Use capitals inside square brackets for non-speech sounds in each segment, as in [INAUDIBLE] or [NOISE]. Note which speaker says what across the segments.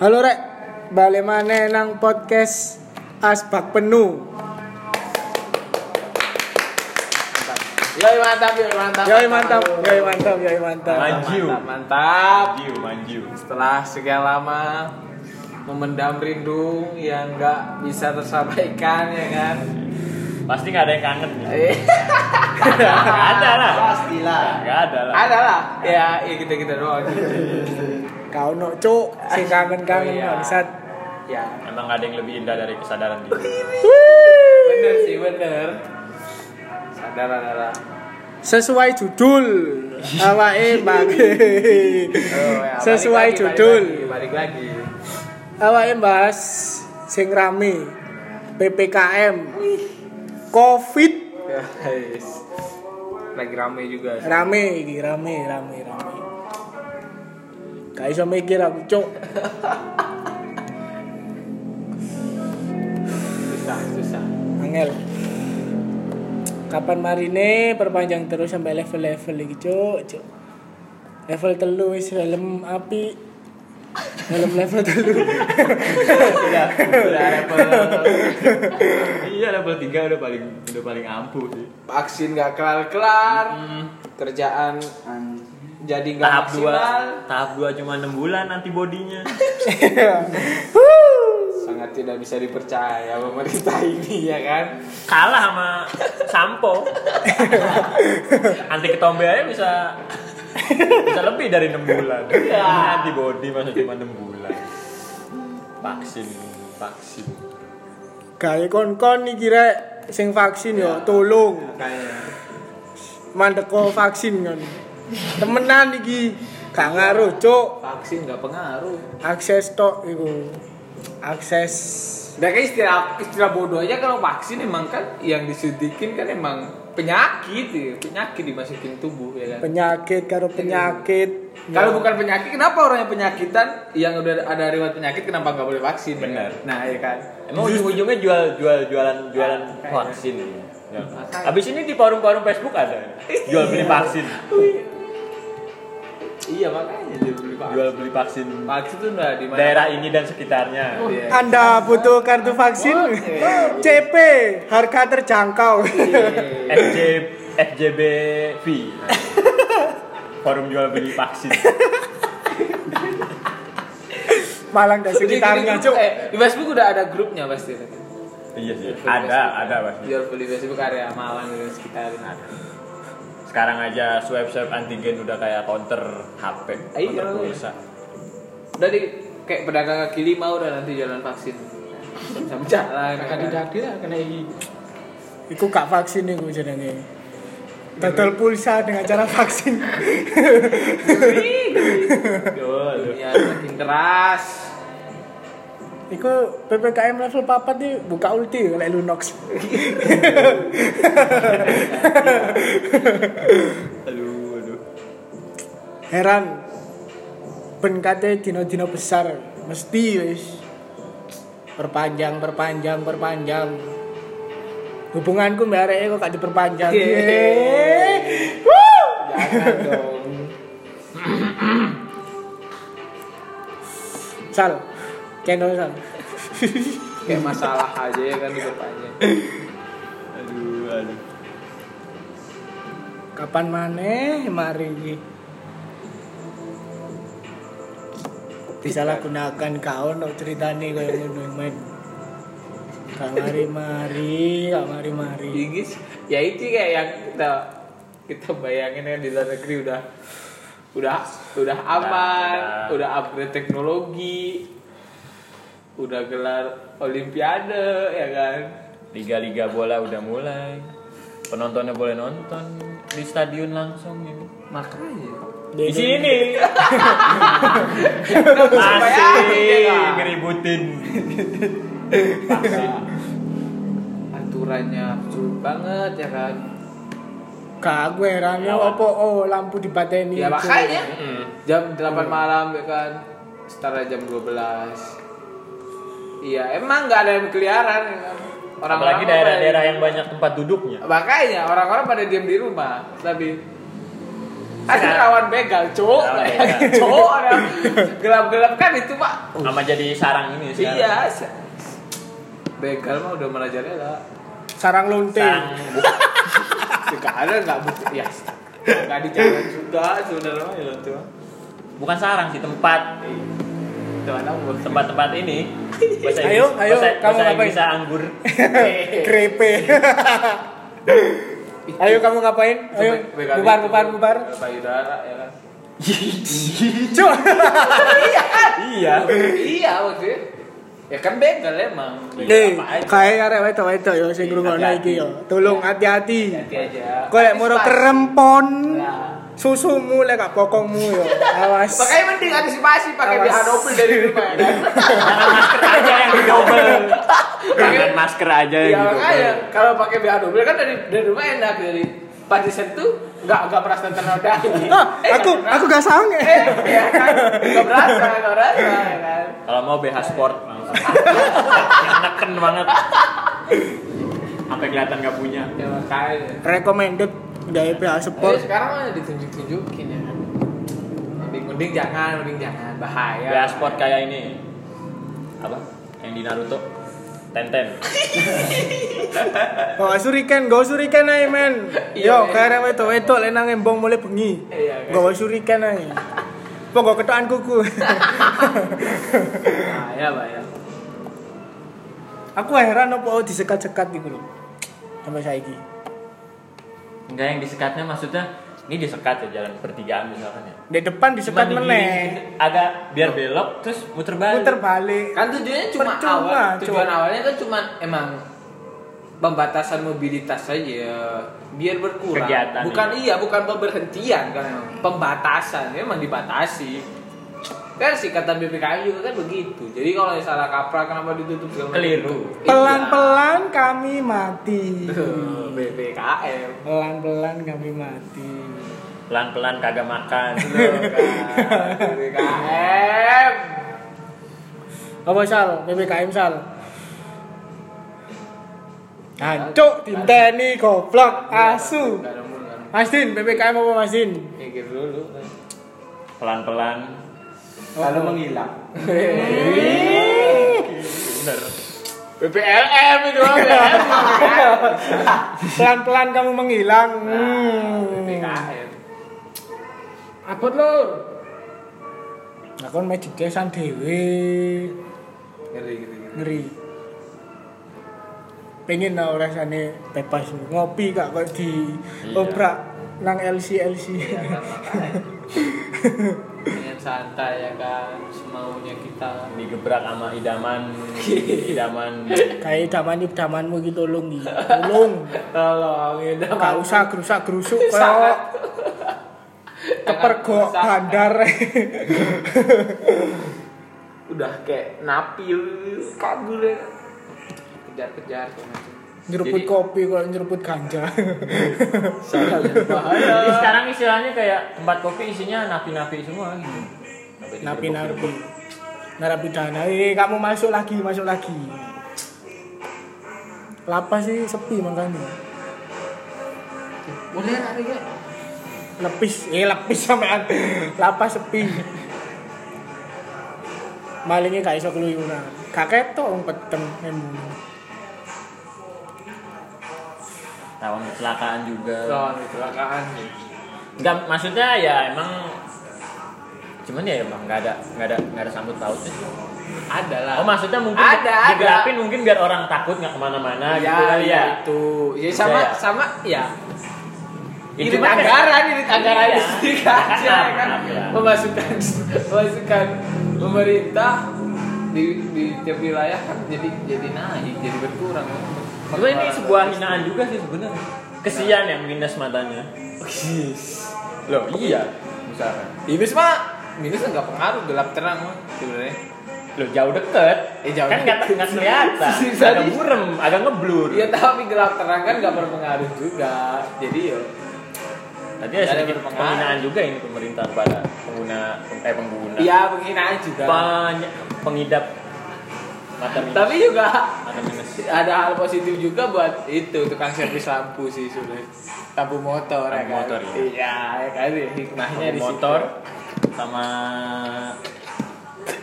Speaker 1: Halo rek, balik mana nang podcast Asbak Penuh.
Speaker 2: Yoi mantap, yoi mantap.
Speaker 1: Yoi mantap, yoi mantap, yoi mantap.
Speaker 2: Manju.
Speaker 3: Manju.
Speaker 2: Mantap, mantap.
Speaker 3: Manju, manju.
Speaker 2: Setelah sekian lama memendam rindu yang nggak bisa tersampaikan ya kan.
Speaker 3: Pasti nggak ada yang kangen ya?
Speaker 2: Eh,
Speaker 3: Nggak ada
Speaker 2: [LAUGHS]
Speaker 3: lah.
Speaker 4: Pastilah.
Speaker 3: Nggak ada lah.
Speaker 2: Ada lah. Ya, ya gitu gitu doang.
Speaker 1: Kau no cuk, si kangen
Speaker 2: Oh,
Speaker 1: kangen
Speaker 2: iya.
Speaker 1: bangsat.
Speaker 2: Ya,
Speaker 3: Emang nggak ada yang lebih indah dari kesadaran gitu. diri.
Speaker 2: bener sih bener. Sadar sadar. Oh,
Speaker 1: Sesuai judul, awake
Speaker 2: [LAUGHS]
Speaker 1: bagi.
Speaker 2: Oh, ya,
Speaker 1: Sesuai
Speaker 2: balik iya, lagi,
Speaker 1: judul,
Speaker 2: Balik lagi. Balik lagi.
Speaker 1: awake bahas sing rame PPKM, COVID
Speaker 2: Guys. Lagi rame juga.
Speaker 1: rame, iki, rame, rame, rame. Gak iso mikir aku cuk.
Speaker 2: Susah, susah.
Speaker 1: Angel. Kapan marine perpanjang terus sampai level-level lagi, Cuk, Cuk. Level telu wis helm api. Helm level telu.
Speaker 2: [LAUGHS] Udah level
Speaker 3: iya level 3 udah paling udah paling ampuh sih.
Speaker 2: vaksin nggak kelar kelar kerjaan jadi nggak
Speaker 3: Tahap 2
Speaker 2: maksimal
Speaker 3: tahap 2 cuma 6 bulan antibodinya.
Speaker 2: sangat tidak bisa dipercaya pemerintah [LAUGHS] ini ya kan
Speaker 3: Kalah sama sampo. Anti ketombe aja bisa bisa lebih dari 6 bulan. Ini
Speaker 2: Iya.
Speaker 3: antibody masih cuma 6 bulan. Vaksin, vaksin.
Speaker 1: Gawe kon-kon iki rek sing vaksin yo tolong
Speaker 2: kayaknya
Speaker 1: mandeko vaksin kon. Temenan iki gak ngaruh, Cuk.
Speaker 2: vaksin nggak pengaruh
Speaker 1: Akses tok iku. Akses
Speaker 2: udah Nah, kayak istilah istilah bodoh aja kalau vaksin emang kan yang disuntikin kan emang penyakit ya. penyakit dimasukin tubuh ya
Speaker 3: Iya.
Speaker 2: kan
Speaker 1: penyakit karo penyakit.
Speaker 2: kalau bukan penyakit kenapa orang yang penyakitan yang udah ada riwayat penyakit kenapa nggak boleh vaksin ya kan?
Speaker 3: Benar.
Speaker 2: nah ya kan
Speaker 3: Emang ujung-ujungnya jual jual jualan jualan
Speaker 2: Kayak-
Speaker 3: vaksin. Ya. Abis ini di forum-forum Facebook ada jual beli vaksin,
Speaker 2: iya makanya dia beli vaksin
Speaker 3: jual beli vaksin
Speaker 2: vaksin tuh udah di mana
Speaker 3: daerah ini dan sekitarnya. [LAUGHS]
Speaker 2: Iya.
Speaker 1: Anda butuh kartu vaksin CP harga
Speaker 4: [LAUGHS]
Speaker 1: terjangkau.
Speaker 2: Eh,
Speaker 3: FJ FJBV forum jual beli vaksin.
Speaker 1: Malang dan sekitarnya.
Speaker 2: Gini-gini, eh, di Facebook udah ada grupnya pasti.
Speaker 3: Iya sih, ada ada pasti.
Speaker 2: Jual beli Facebook area Malang dan sekitarnya ada.
Speaker 3: Sekarang aja swab swab antigen udah kayak counter HP,
Speaker 2: Iya.
Speaker 3: counter pulsa.
Speaker 2: Udah di kayak pedagang kaki lima udah nanti jalan vaksin. Sama jalan. Iya. Kandidat.
Speaker 4: lah kena ini.
Speaker 1: Iku gak vaksin iku jenenge. Total pulsa dengan cara [LAUGHS] vaksin.
Speaker 3: Aduh.
Speaker 2: Dunia Iya, makin keras.
Speaker 1: Iku PPKM level 4 iki buka ulti lek Lunox.
Speaker 3: Aduh, aduh.
Speaker 1: Heran. Ben kate dino-dino besar mesti wis perpanjang perpanjang perpanjang. Hubunganku mbak Areke kok gak diperpanjang.
Speaker 3: Iya.
Speaker 2: Yeay.
Speaker 1: Yeay. Woo!
Speaker 2: Jangan dong.
Speaker 1: Sal. Kendol sal.
Speaker 2: Kayak masalah aja ya kan diperpanjang.
Speaker 3: Aduh, aduh.
Speaker 1: Kapan maneh mari iki? Disalahgunakan kau no ceritane kaya ngono men. Kamari mari, kamari mari.
Speaker 2: Inggris ya itu kayak yang kita kita bayangin yang di luar negeri udah udah udah aman,
Speaker 3: Udah, udah.
Speaker 2: udah upgrade teknologi, udah gelar olimpiade ya kan.
Speaker 3: Liga-liga bola udah mulai. Penontonnya boleh nonton di stadion langsung ya.
Speaker 2: Makanya
Speaker 3: Di sini.
Speaker 2: bayangin,
Speaker 3: Masih
Speaker 2: ya, Kak?
Speaker 3: ngeributin.
Speaker 2: [LAUGHS] aturannya sulit banget ya kan.
Speaker 1: Gak aku heran ya
Speaker 3: Lawan.
Speaker 1: opo oh lampu dibateni.
Speaker 2: Ya
Speaker 3: Iya,
Speaker 1: Cuk.
Speaker 2: makanya jam 8 malam ya kan setara jam 12 Iya emang nggak ada yang berkeliaran ya kan.
Speaker 3: Apalagi
Speaker 2: apa ya?
Speaker 3: daerah-daerah yang banyak tempat duduknya.
Speaker 2: Makanya orang-orang pada diam di rumah, tapi Ada rawan begal, cok. [LAUGHS]
Speaker 3: Rawan begal.
Speaker 2: Cok, ada gelap-gelap kan itu, Pak.
Speaker 3: sama jadi sarang ini sekarang.
Speaker 2: Iya. se- Begal mah udah merajalela.
Speaker 1: sarang
Speaker 3: Sarang iya.
Speaker 1: lunting
Speaker 3: bukan
Speaker 2: Juga ada nggak bukti. Ya, nggak dijalan juga sebenarnya ya lo tuh.
Speaker 3: bukan sarang sih tempat
Speaker 2: Itu anak gua.
Speaker 3: tempat-tempat ini. Bahasa
Speaker 1: Ayo,
Speaker 3: Inggris-
Speaker 1: ayo,
Speaker 3: bahasa-
Speaker 1: kamu
Speaker 3: bahasa
Speaker 1: ngapain?
Speaker 3: Inggris anggur.
Speaker 1: [LAUGHS] krepe ayo kamu ngapain ayo
Speaker 2: Begal
Speaker 1: bubar
Speaker 2: itu,
Speaker 1: bubar bubar
Speaker 2: Payudara ya kan.
Speaker 1: cuk
Speaker 3: Iya.
Speaker 2: Iya, maksudnya. Ya kan begal emang.
Speaker 1: Nih,
Speaker 2: Apa aja.
Speaker 1: kayak arek wedok wedok yo sing ngrungokno iki yo. Tolong hati-hati.
Speaker 2: Hati aja.
Speaker 1: Kau lek moro
Speaker 2: Antisipasi.
Speaker 1: kerempon,
Speaker 2: Nah.
Speaker 1: susumu lek gak bokongmu yo. Awas.
Speaker 2: Makanya mending antisipasi pakai
Speaker 1: Awas.
Speaker 2: bihanopil dari rumah. ya
Speaker 1: [LAUGHS]
Speaker 2: kan?
Speaker 3: Jangan masker aja yang didobel. Jangan masker aja
Speaker 2: Ya
Speaker 3: yang
Speaker 1: Iya, gitu,
Speaker 3: didobel.
Speaker 2: makanya kalau pakai BH double kan dari dari rumah enak dari Pancisen tuh nggak nggak merasa
Speaker 1: [LAUGHS]
Speaker 2: ternodai.
Speaker 1: Ah, aku aku gak sange.
Speaker 2: eh, ya kan nggak merasa nggak merasa ya kan.
Speaker 3: Kalau mau BH [LAUGHS] sport langsung. Yang neken banget. Sampai kelihatan nggak punya.
Speaker 2: Ya makanya.
Speaker 1: Recommended dari PH
Speaker 2: Tapi
Speaker 1: Support.
Speaker 2: sekarang mah ditunjuk-tunjukin ya. kan. Mending mending jangan mending jangan bahaya.
Speaker 3: BH sport kayak ini. Apa? Yang di Naruto. Tenten.
Speaker 1: Oh, suriken, gak suriken ae men.
Speaker 2: [LAUGHS]
Speaker 1: Yo,
Speaker 2: Iya, eh. men.
Speaker 1: kayak arek wedok wedok lek nang embong mulai bengi.
Speaker 2: Iya, kan.
Speaker 1: Gak suriken ae. Pokok ketokan kuku.
Speaker 2: bahaya bahaya.
Speaker 1: [LAUGHS] aku heran opo disekat-sekat iku lho. Sampai saiki.
Speaker 3: Enggak yang disekatnya maksudnya ini disekat ya jalan pertigaan misalkan ya.
Speaker 1: Di depan disekat
Speaker 3: Cuman
Speaker 1: meneh.
Speaker 3: digini-gini, Agak biar belok terus muter balik.
Speaker 1: Puter balik.
Speaker 2: Kan tujuannya cuma
Speaker 1: Percuma,
Speaker 2: awal. Tujuan
Speaker 1: cuma.
Speaker 2: awalnya kan cuma emang pembatasan mobilitas saja biar berkurang.
Speaker 3: Kegiatan,
Speaker 2: bukan iya, bukan pemberhentian kan emang. Pembatasan memang dibatasi. Kan sikatan BPKM juga kan begitu. Jadi kalau yang salah kaprah kenapa ditutup segala macam?
Speaker 3: Keliru.
Speaker 2: Iya.
Speaker 1: Pelan-pelan kami mati.
Speaker 2: Tuh, BPKM.
Speaker 1: Pelan-pelan kami mati.
Speaker 3: Pelan-pelan kagak makan.
Speaker 2: Tuh, kan. BPKM.
Speaker 1: Apa sal? PPKM sal. Hancuk tinteni goblok asu. Oh.
Speaker 2: Gak ada mulu, gak ada mulu.
Speaker 1: Mas Din, PPKM apa Mas Din?
Speaker 2: Mikir dulu.
Speaker 3: Pelan-pelan.
Speaker 2: Lalu menghilang.
Speaker 3: Bener.
Speaker 2: BPLM itu BPLM.
Speaker 1: Pelan-pelan kamu menghilang. Hmm.
Speaker 2: PKM.
Speaker 1: Apa lur? Nah kon magic desan dhewe.
Speaker 2: Ngeri ngeri. ngeri.
Speaker 1: ngeri pengen lah rasanya bebas ngopi kak kok di
Speaker 3: Iya.
Speaker 1: obrak nang LC LC
Speaker 2: [LAUGHS] Ya kan, makanya. Dengan santai ya kan, semaunya kita.
Speaker 3: Digebrak sama [LAUGHS] idaman idaman
Speaker 1: kayak daman damanmu gitu tolong gitu tolong
Speaker 2: Tolong ya udah
Speaker 1: gak
Speaker 2: mau.
Speaker 1: usah gerusak gerusuk
Speaker 2: Sangat.
Speaker 1: kok kepergok
Speaker 2: Sangat
Speaker 1: bandar
Speaker 2: Udah kayak napil kabur ya. kan. Kejar-kejar kayak macam.
Speaker 1: nyeruput
Speaker 3: Jadi-
Speaker 1: kopi kok nyeruput ganja
Speaker 2: Bahaya.
Speaker 3: Jadi sekarang istilahnya kayak tempat kopi isinya napi-napi semua gitu.
Speaker 1: napi napi narapidana eh kamu masuk lagi masuk lagi lapas sih sepi makanya
Speaker 2: Boleh nari ya?
Speaker 1: lepis eh lepis [LAUGHS] sampean lapas sepi malingnya gak iso keluyuran gak ketok wong peteng nemu
Speaker 3: Rawan kecelakaan juga.
Speaker 2: Tolong kecelakaan.
Speaker 3: Enggak, maksudnya ya emang cuman ya emang nggak ada nggak ada nggak ada sambut pautnya. sih.
Speaker 2: Ada lah.
Speaker 3: Oh maksudnya mungkin
Speaker 2: Ada, ada.
Speaker 3: digelapin mungkin biar orang takut nggak
Speaker 2: Nah,
Speaker 3: kemana-mana gitu kali ya.
Speaker 2: Itu. kan, Ya
Speaker 3: Bisa
Speaker 2: sama
Speaker 3: ya?
Speaker 2: sama ya. Ini
Speaker 3: Itu mah-
Speaker 2: anggaran, ini anggaran
Speaker 3: Iya.
Speaker 2: listrik aja ya kan.
Speaker 3: Iya.
Speaker 2: Memasukkan memasukkan pemerintah di di tiap wilayah kan jadi jadi naik, jadi berkurang.
Speaker 3: Cuma ini sebuah hinaan juga sih sebenarnya. Kesian yang minus matanya. Loh iya. Misalkan.
Speaker 2: Minus mah minus enggak pengaruh gelap terang mah sebenarnya.
Speaker 3: Loh jauh deket.
Speaker 2: Eh, jauh
Speaker 3: kan nggak
Speaker 2: deket.
Speaker 3: nggak kelihatan.
Speaker 2: [LAUGHS] Sisa
Speaker 3: Agak
Speaker 2: di-
Speaker 3: burem, agak ngeblur.
Speaker 2: Iya tapi gelap terang kan nggak berpengaruh juga. Jadi ya
Speaker 3: Tadi
Speaker 2: Nggak
Speaker 3: ada
Speaker 2: ada
Speaker 3: ya sedikit
Speaker 2: berpengaruh.
Speaker 3: penghinaan juga ini pemerintah kepada
Speaker 2: Iya.
Speaker 3: pengguna eh pengguna.
Speaker 2: ya penghinaan juga.
Speaker 3: Banyak pengidap mata minus
Speaker 2: Tapi juga
Speaker 3: mata minus
Speaker 2: ada hal positif juga buat itu tukang servis lampu sih sudah lampu motor ya
Speaker 3: Lampu
Speaker 2: kan?
Speaker 3: motor, iya.
Speaker 2: iya ya kan hikmahnya
Speaker 3: Lampu
Speaker 2: di situ.
Speaker 3: motor sama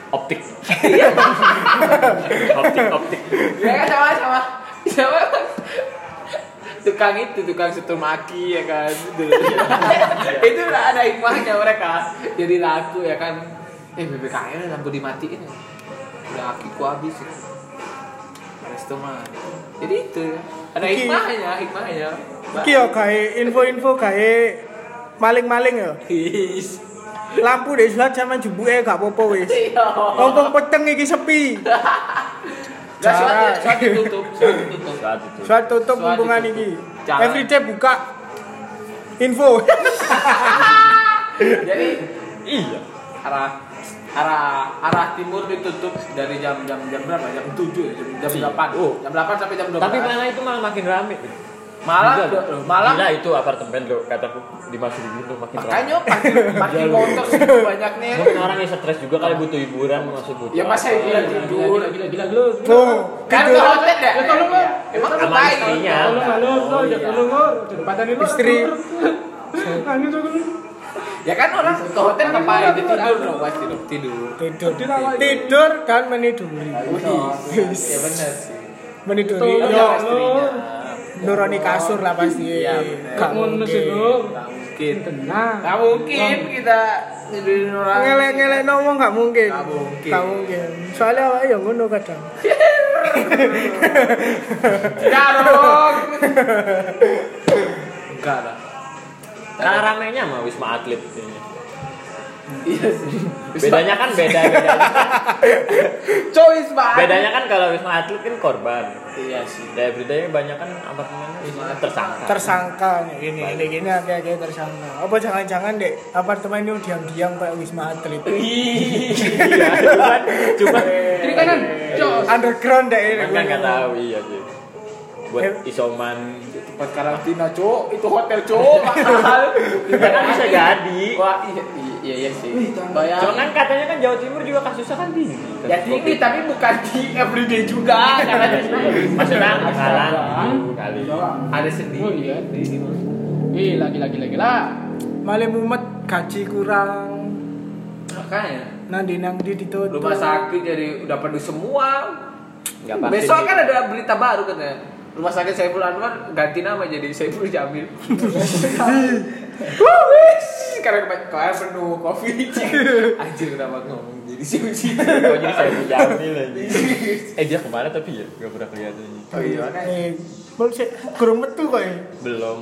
Speaker 3: optik
Speaker 2: Iya.
Speaker 3: [LAUGHS] optik optik
Speaker 2: ya kan sama sama sama tukang itu tukang setur maki ya kan
Speaker 3: [LAUGHS]
Speaker 2: itu itu udah ada hikmahnya mereka jadi laku ya kan eh BBKL lampu dimatiin ya udah aku habis ya. Resto mah jadi itu ada
Speaker 1: Oke.
Speaker 2: hikmahnya hikmahnya
Speaker 1: Iki yo gawe info-info gawe maling-maling yo.
Speaker 2: Is.
Speaker 1: Lampu dek selat sama jubuke gak apa-apa wis.
Speaker 2: Iya.
Speaker 1: Ngomong peteng iki sepi.
Speaker 2: Gak
Speaker 1: Jarang.
Speaker 2: suatu, suatu tutup, suatu tutup.
Speaker 3: saat itu
Speaker 1: Suat tutup
Speaker 2: Suat
Speaker 1: hubungan
Speaker 2: ditutup.
Speaker 1: iki.
Speaker 2: Jangan.
Speaker 1: Everyday buka info.
Speaker 2: Jadi
Speaker 3: iya
Speaker 2: arah arah arah timur ditutup dari jam jam jam berapa? Jam 7 ya, jam, jam
Speaker 3: Iya.
Speaker 2: 8.
Speaker 3: Oh.
Speaker 2: Jam 8 sampai jam 12.
Speaker 3: tapi malah itu malah makin rame
Speaker 2: malah
Speaker 3: Gila,
Speaker 2: do-
Speaker 3: loh.
Speaker 2: malah
Speaker 3: Gila, itu apartemen lo kataku dimasukin gitu makin rame
Speaker 2: makanya parkir, parkir motor sih banyaknya.
Speaker 3: mungkin orang yang stres juga kali butuh hiburan masih butuh
Speaker 2: Ya masa hiburan tidur.
Speaker 3: gila gila gila gila
Speaker 1: Oh,
Speaker 2: Kan ke
Speaker 1: tidur.
Speaker 2: hotel ya. Iya. Emang lu
Speaker 3: sama
Speaker 2: baik.
Speaker 3: istrinya
Speaker 2: Oh, iya.
Speaker 1: Istri
Speaker 2: Ya kan orang ke hotel ngapain? Dia tidur dong pasti dong tidur.
Speaker 1: tidur. Tidur dan meniduri.
Speaker 2: Ya benar sih.
Speaker 3: Ya
Speaker 1: Meniduri.
Speaker 2: Itu
Speaker 1: Yo,
Speaker 2: sama istrinya.
Speaker 1: nuroni kasur lah pasti.
Speaker 2: Iya, bener.
Speaker 1: Gak mungkin.
Speaker 2: Gak mungkin.
Speaker 1: Tenang.
Speaker 2: Gak mungkin kita tidurin orang.
Speaker 1: ngelek-ngelek ngomong gak mungkin
Speaker 2: Nggak mungkin.
Speaker 1: Nggak mungkin soalnya awak ya ngono kadang
Speaker 2: [LAUGHS] Enggak dong. Enggak lah.
Speaker 3: nah ramenya mah wisma atlet kayaknya.
Speaker 2: Iya sih.
Speaker 3: bedanya
Speaker 2: [LAUGHS]
Speaker 3: kan beda bedanya
Speaker 2: choice banget.
Speaker 3: bedanya kan kalau wisma atlet kan korban
Speaker 2: Iya sih.
Speaker 3: dari beritanya banyak kan apartemennya wisma atlet tersangka
Speaker 1: tersangka nih, ini ini gini agak agak tersangka apa jangan-jangan dek apartemen itu diam-diam kayak wisma atlet
Speaker 3: iya cuman cuman
Speaker 2: Kiri kanan. Jos.
Speaker 1: underground dek ini
Speaker 3: cuman kan nggak tahu iya sih
Speaker 1: Eh.
Speaker 3: buat isoman
Speaker 2: Tempat karantina, Cok. Itu hotel, [LAUGHS] Cok. Mahal.
Speaker 3: Kita kan bisa
Speaker 2: Iya.
Speaker 3: jadi.
Speaker 2: Wah, iya iya, iya sih. Bayar.
Speaker 3: Cuman katanya kan Jawa Timur juga kasusnya kan tinggi.
Speaker 2: Ya tinggi tapi bukan di everyday juga karena di
Speaker 3: Maksudnya bakalan gitu kali.
Speaker 2: ada Oh, iya, sendiri.
Speaker 4: Ih, lagi lagi lagi lah.
Speaker 1: malah mumet gaji kurang
Speaker 2: Makanya
Speaker 1: nanti nanti ditutup
Speaker 2: rumah sakit jadi udah penuh semua.
Speaker 3: Enggak
Speaker 2: Besok kan ada berita baru katanya. Rumah sakit Saiful Anwar ganti nama jadi Saiful [LAUGHS] Jamil. Wuh, wis. Karena kemarin kemarin penuh [LAUGHS] covid. Anjir kenapa ngomong jadi Saiful Jamil.
Speaker 3: jadi saya Jamil aja. Eh dia kemana tapi ya nggak pernah kelihatan ini.
Speaker 2: Oh iya makanya.
Speaker 1: eh belum sih kurang metu kok ya
Speaker 3: Belum.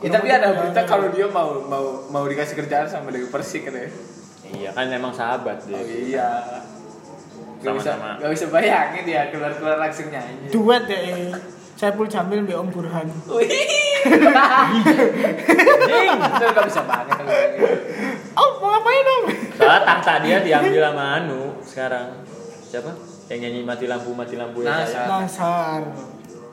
Speaker 2: Ya, tapi ada berita kalau dia mau mau mau dikasih kerjaan sama Dewi Persik katanya.
Speaker 3: Iya kan emang sahabat
Speaker 2: Oh
Speaker 3: dia.
Speaker 2: iya. Gak bisa,
Speaker 3: Sama-sama.
Speaker 2: gak bisa bayangin dia keluar-keluar langsung nyanyi.
Speaker 1: duet dek ini. Saiful Jamil mbak Om Burhan
Speaker 2: Wih. Jing, itu gak bisa banget kalau kayak gitu.
Speaker 1: oh mau ngapain om
Speaker 3: Soalnya tahta dia diambil sama Anu sekarang. Siapa? Yang nyanyi mati lampu mati lampu ya
Speaker 2: Nasar.
Speaker 3: saya.
Speaker 1: Nasar